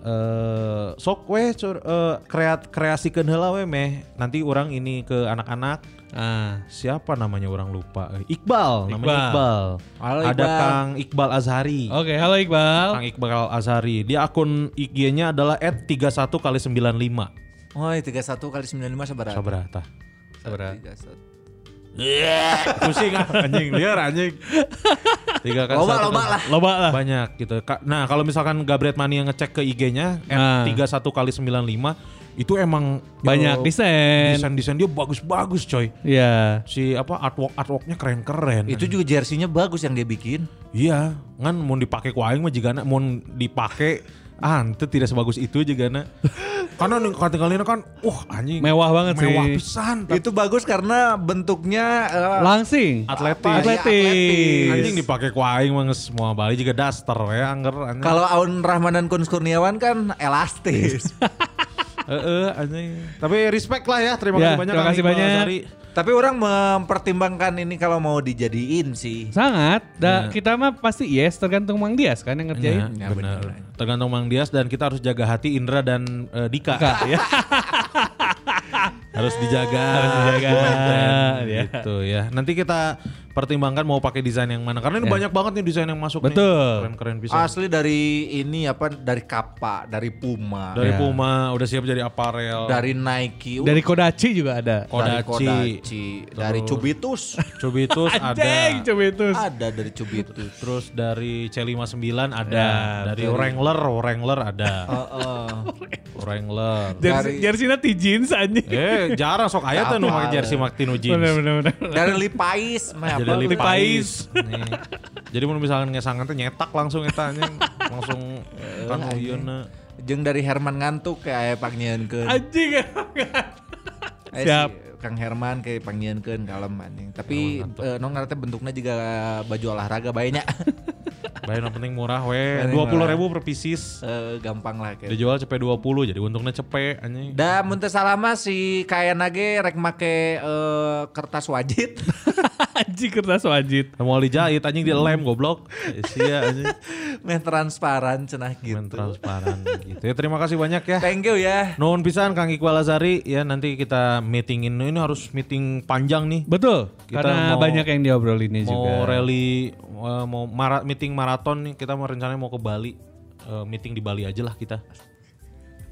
eh sok weh cur, eh, kreat kreasikeun heula we meh. Nanti orang ini ke anak-anak Ah. siapa namanya orang lupa. Eh, Iqbal, namanya Iqbal. Oh. Iqbal. Halo, Ada Iqbal. Kang Iqbal Azhari. Oke, halo Iqbal. Kang Iqbal Azhari. Dia akun IG-nya adalah @31 kali 95. Woi, 31 kali 95 sabar. Sabrata. Sabar. 31. Pusing ah, anjing liar anjing. Tiga kali Loba, satu loba kali- lah. Loba lah. *laughs* Banyak gitu. Ka- Nah, kalau misalkan Gabret Mania ngecek ke IG-nya Ah. @31 kali 95 itu emang eh, Banyak desain. Desain-desain dia bagus-bagus, coy. Iya. Si apa artwork-artworknya keren-keren. Itu juga jersinya bagus yang dia bikin. Iya, kan mau dipakai ku aing mah jigana mau dipakai ah itu tidak sebagus itu *laughs* jigana. Karena nih kata kalian kan, wah anjing Mewah banget sih. mewah pisan. Itu bagus karena bentuknya eh, Langsing. Atletis. Apa? Atletis. Atletis. Anjing dipakai ku aing mah geus semua Bali juga daster we anger anjing. kalau Aun Rahman dan Kunz Kurniawan kan elastis. Heeh, anjing. Tapi respect lah ya, terima Ya, kasih banyak. terima Kang kasih Iqbal banyak. Sari. *laughs* Tapi orang mempertimbangkan ini kalau mau dijadiin sih. Sangat. Iya. Da, Kita mah pasti yes tergantung Mang Dias kan yang ngerjain. Iya, benar. Tergantung Mang Dias dan kita harus jaga hati Indra dan eh, Dika. *laughs* ya. harus dijaga, Ah, harus dijaga, ya. gitu ya. Nanti kita pertimbangkan mau pakai desain yang mana karena ini banyak banget nih desain yang masuk nih. Iya. Betul. Keren-keren bisa. Asli dari ini apa dari Kappa, dari Puma, dari, Dari Puma udah siap jadi aparel. Nike, Iya. Dari Kodachi juga ada. dari Kodachi. dari Terus. Cubitus. Cubitus ada. *laughs* Anjing coba itu. Ada dari Cubitus. Terus dari C59 ada, Ya, dari betul. Wrangler, Wrangler *laughs* ada. Heeh. *laughs* Wrangler. Dari- Jersinya tijins anjing. eh, jarang sok aya teh nu make jersey Martino jeans. Bener bener bener. dari Lipais, mah Jadi apa? Lip- lipais. Nih. Jadi mun misalkan ngesangan teh nyetak langsung eta anjing, langsung Eh, kan uyeuna. Jeung Iya, dari Herman ngantuk kayak pangnyiankeun. Anjing. *laughs* Eh, siap. si Kang Herman kayak pangnyiankeun kalem anjing. Tapi eh, non ngarana teh bentuknya juga baju olahraga banyak. Bae yang penting murah we, Penting 20 ribu per pieces. *laughs* Eh, gampang lah kayak. Dijual cepe 20 jadi untungnya cepe anjing. Da mun teu salama si kayan nage rek make eh, kertas wajit. *laughs* Anjing kertas wajit. Mau dijahit anjing di *laughs* lem goblok. Sia anjing. Meh transparan cenah gitu. Men transparan gitu. Ya, terima kasih banyak ya. Thank you ya. Nuhun pisan Kang Iqbal Azari ya nanti kita meetingin ini harus meeting panjang nih. Betul. Kita karena mau- banyak yang diobrolinnya juga. mau rally eh, mau mara- meeting maraton nih kita mau rencananya mau ke Bali. Eh, meeting di Bali aja lah kita.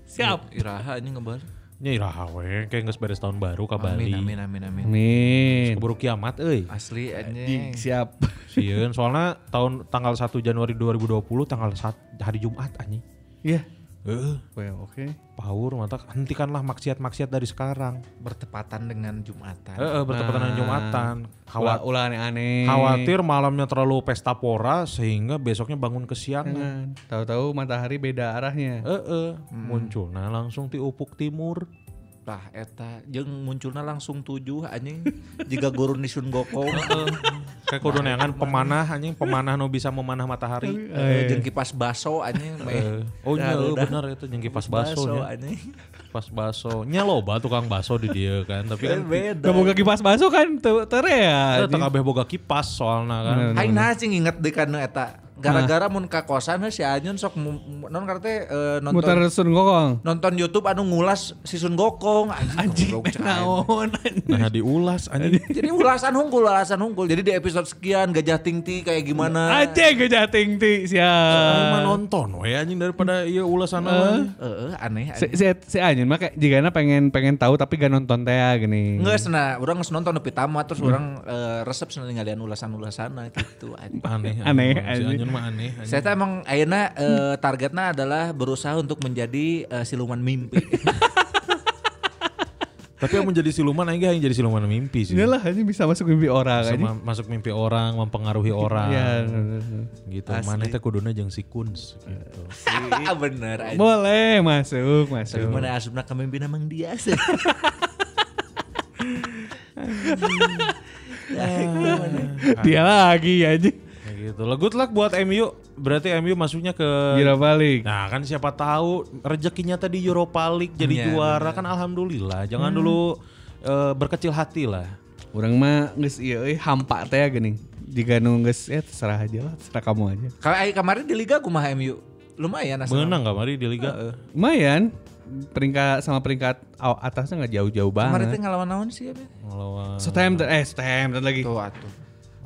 Siap. Iraha anjing ngebal. Ya iraha we, kayak nggak beres tahun baru ke Bali. Amin amin amin amin. Amin. Keburu kiamat euy. Asli anjing. Siap. *laughs* Sieun soalnya tahun tanggal 1 Januari 2020 tanggal sat- hari Jumat anjing. Iya. Heeh. Well, oke. Power mata hentikanlah maksiat-maksiat dari sekarang. Bertepatan dengan Jumatan. Heeh, bertepatan dengan Nah. Jumatan. Khawat- Ulah ulah aneh-aneh. Khawatir malamnya terlalu pesta pora sehingga besoknya bangun kesiangan. Jangan. Tahu-tahu matahari beda arahnya. Eh eh, muncul nah langsung di upuk timur. Tah eta jeung munculna langsung tujuh anjing. Jika gurun di Sun Gokong. *laughs* Kayak kudu neangan pemanah anjing, pemanah nu bisa memanah matahari. Eh, jeung kipas baso anjing Eh, meh. oh iya Dah, dah. benar itu ya. jeung kipas baso nya. anjing. Kipas baso. Nya loba tukang baso di dia kan, tapi kan Beda. Gak mau kipas baso kan te- tere ya. kita teu kabeh boga kipas soalna kan. Bener. Aing nah cing inget deh kan eta. Gara-gara mun ka kosan heuh si Anyun sok mu- mu- non karena teh eh, nonton Muter sun gokong. nonton YouTube anu ngulas si Sun Gokong Anjing oh. goblok, cai. naon Nah diulas anjing. Jadi ulasan hungkul, ulasan hungkul. Jadi di episode sekian Gajah Tingti kayak gimana? Anjing gejah tingti Aing mah siap. nonton we anjing daripada iya anu, ieu ulasan Eh? awalnya. Heeh, aneh. Si si si Anyun mah kayak jigana pengen pengen tahu tapi gak nonton teh gini. Enggak sana, orang geus nah, nonton nepi tamat Hmm. terus orang eh, resep sana ningalian ulasan-ulasana gitu. anjing. Aneh, Aneh, Si anjing. Anjun mah aneh. anjing. Saya tuh emang ayeuna eh, targetnya adalah berusaha untuk menjadi eh, siluman *laughs* mimpi. Tapi yang menjadi siluman aing yang jadi siluman mimpi sih. Iya lah anjing bisa masuk mimpi orang Sama anjing. masuk mimpi orang, mempengaruhi orang. Iya. bener, bener. Gitu. Mana teh kuduna jeung si Kunz gitu. Bener anjing. Boleh masuk Tapi masuk. mana asupna kemimpin emang dia sih. Eh. Dia lagi anjing. Ya gitu. Lah good luck buat MU. Berarti MU masuknya ke Gira balik. Nah, kan siapa tahu rezekinya tadi Europa League jadi Iya, juara kan alhamdulillah. Jangan dulu eh, berkecil hati lah. Orang mah geus ieu euy hampa teh geuning. Jika nu geus eh terserah aja lah, terserah kamu aja. Kalau ay- kemarin di Liga kumaha MU lumayan Arsenal. Menang gak mari di liga? Lumayan peringkat sama peringkat aw- atasnya nggak jauh-jauh Kemarin teh banget. ngelawan naon sih ya? Be? Melawan Southampton eh Southampton lagi. Tuh atuh.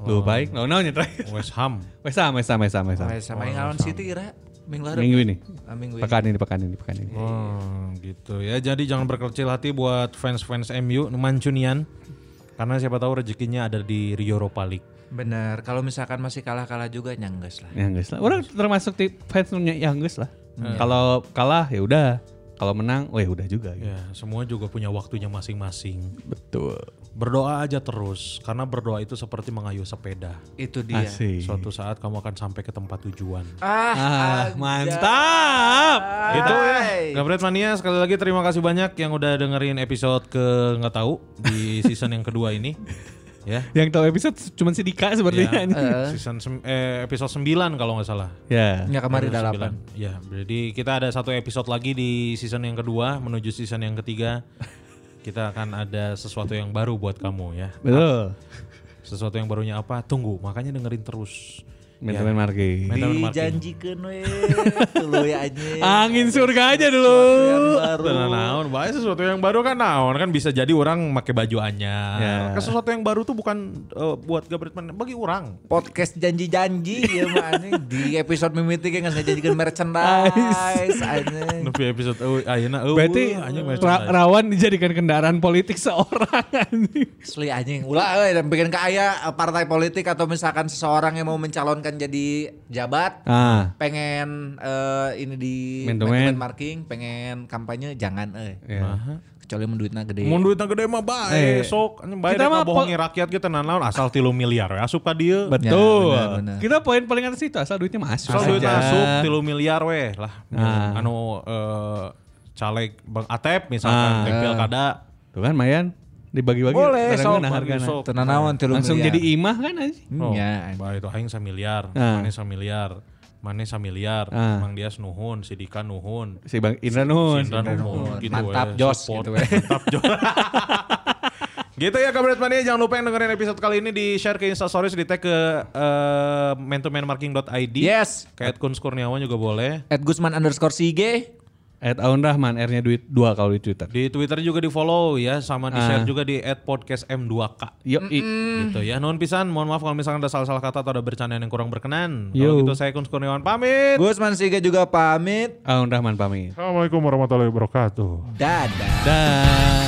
Duh baik, no no terakhir. West Ham. Wes sama, wes sama, wes sama, wes oh, sama. Sama sama yang ngelawan City ira minggu lalu. Minggu ini. Ah, minggu ini. Pekan ini, pekan ini, pekan ini. Oh, gitu ya. Jadi jangan berkecil hati buat fans-fans MU Mancunian. Karena siapa tahu rezekinya ada di Europa League. Bener. Kalau misalkan masih kalah-kalah juga nyangges lah. Yang geus lah. Ya, Orang termasuk tip fans yang geus lah. Hmm. Kalau kalah ya udah, kalau menang, oh ya udah juga. gitu. Ya, semua juga punya waktunya masing-masing. Betul. Berdoa aja terus, karena berdoa itu seperti mengayuh sepeda. Itu dia. Asik. Suatu saat kamu akan sampai ke tempat tujuan. Ah, mantap. Gitu ya. Gabret Mania sekali lagi terima kasih banyak yang udah dengerin episode ke nggak tahu di season yang kedua ini. Ya. Yang tahu episode cuman si Dika sepertinya. ini. Season sem- eh, episode 9 kalau nggak salah. Ya. Ya kemarin udah Sembilan. Ya, jadi kita ada satu episode lagi di season yang kedua menuju season yang ketiga. Kita akan ada sesuatu yang baru buat kamu ya. Betul. Sesuatu yang barunya apa? Tunggu, makanya dengerin terus. Benjamin Margi. Mental marking. Dijanjikan we Lu ya aja Angin surga aja dulu. Nah, naon, bae sesuatu yang baru kan naon kan bisa jadi orang pakai baju anyar. Ya. Kan sesuatu yang baru tuh bukan eh, buat Gabriel Man, bagi orang. Podcast janji-janji ya mah anjing. Di episode mimiti kayak nggak janjikan merchandise anjing. Nepi episode euy ayeuna euy. Berarti anjing ra- merchandise. rawan dijadikan kendaraan politik seorang *laughs* anjing. Asli anjing. Ulah euy, dan bikin kaya eh, partai politik atau misalkan seseorang yang mau mencalonkan jadi jabat Ah, pengen eh, ini di Man to man. man-to-man marking, pengen kampanye jangan euy. ya. Kecuali mun duitna gede. Mun duitna gede mah bae, Eh. sok anjing bae rek Kita mah bohongi rakyat kita naon asal 3 miliar we asup ka dieu. betul. Ya, benar-benar. Kita poin paling atas itu asal duitnya masuk. Asal duit aja. asup 3 miliar we lah. Ah. Anu eh, caleg Bang Atep misalkan Ah. ah. pilkada. Tuh kan Mayan dibagi-bagi Boleh, barengan sok, hargana. sok. Tenan naon tilu Langsung miliar. jadi imah kan anjing. Hmm, Oh, ya. bae itu aing samiliar, Ah. mane samiliar, mane samiliar, Ah. Mang Dias nuhun, si Dika nuhun. Si Bang Indra Nun. Indra Nuhun gitu Mantap, we, Jos, support. gitu we. *laughs* Mantap Jos. Gitu ya Kabinet Mania, jangan lupa yang dengerin episode kali ini di-share ke Instastories, di-tag ke eh, man-to-man-marking.id. Yes. Kayak Kuns Kurniawan juga boleh. At Gusman underscore Sige. At Aun Rahman, R-nya duit dua kalau di Twitter. Di Twitter juga di-follow ya, sama di-share Ah. juga di @podcastm2k. Yo, i. Gitu ya, nuhun pisan. Mohon maaf kalau misalkan ada salah-salah kata atau ada bercandaan yang kurang berkenan. Kalau Yo. gitu saya Kuns Kurniawan pamit. Gusman Sige juga pamit. Aun Rahman pamit. Assalamualaikum warahmatullahi wabarakatuh. Dadah. Dah.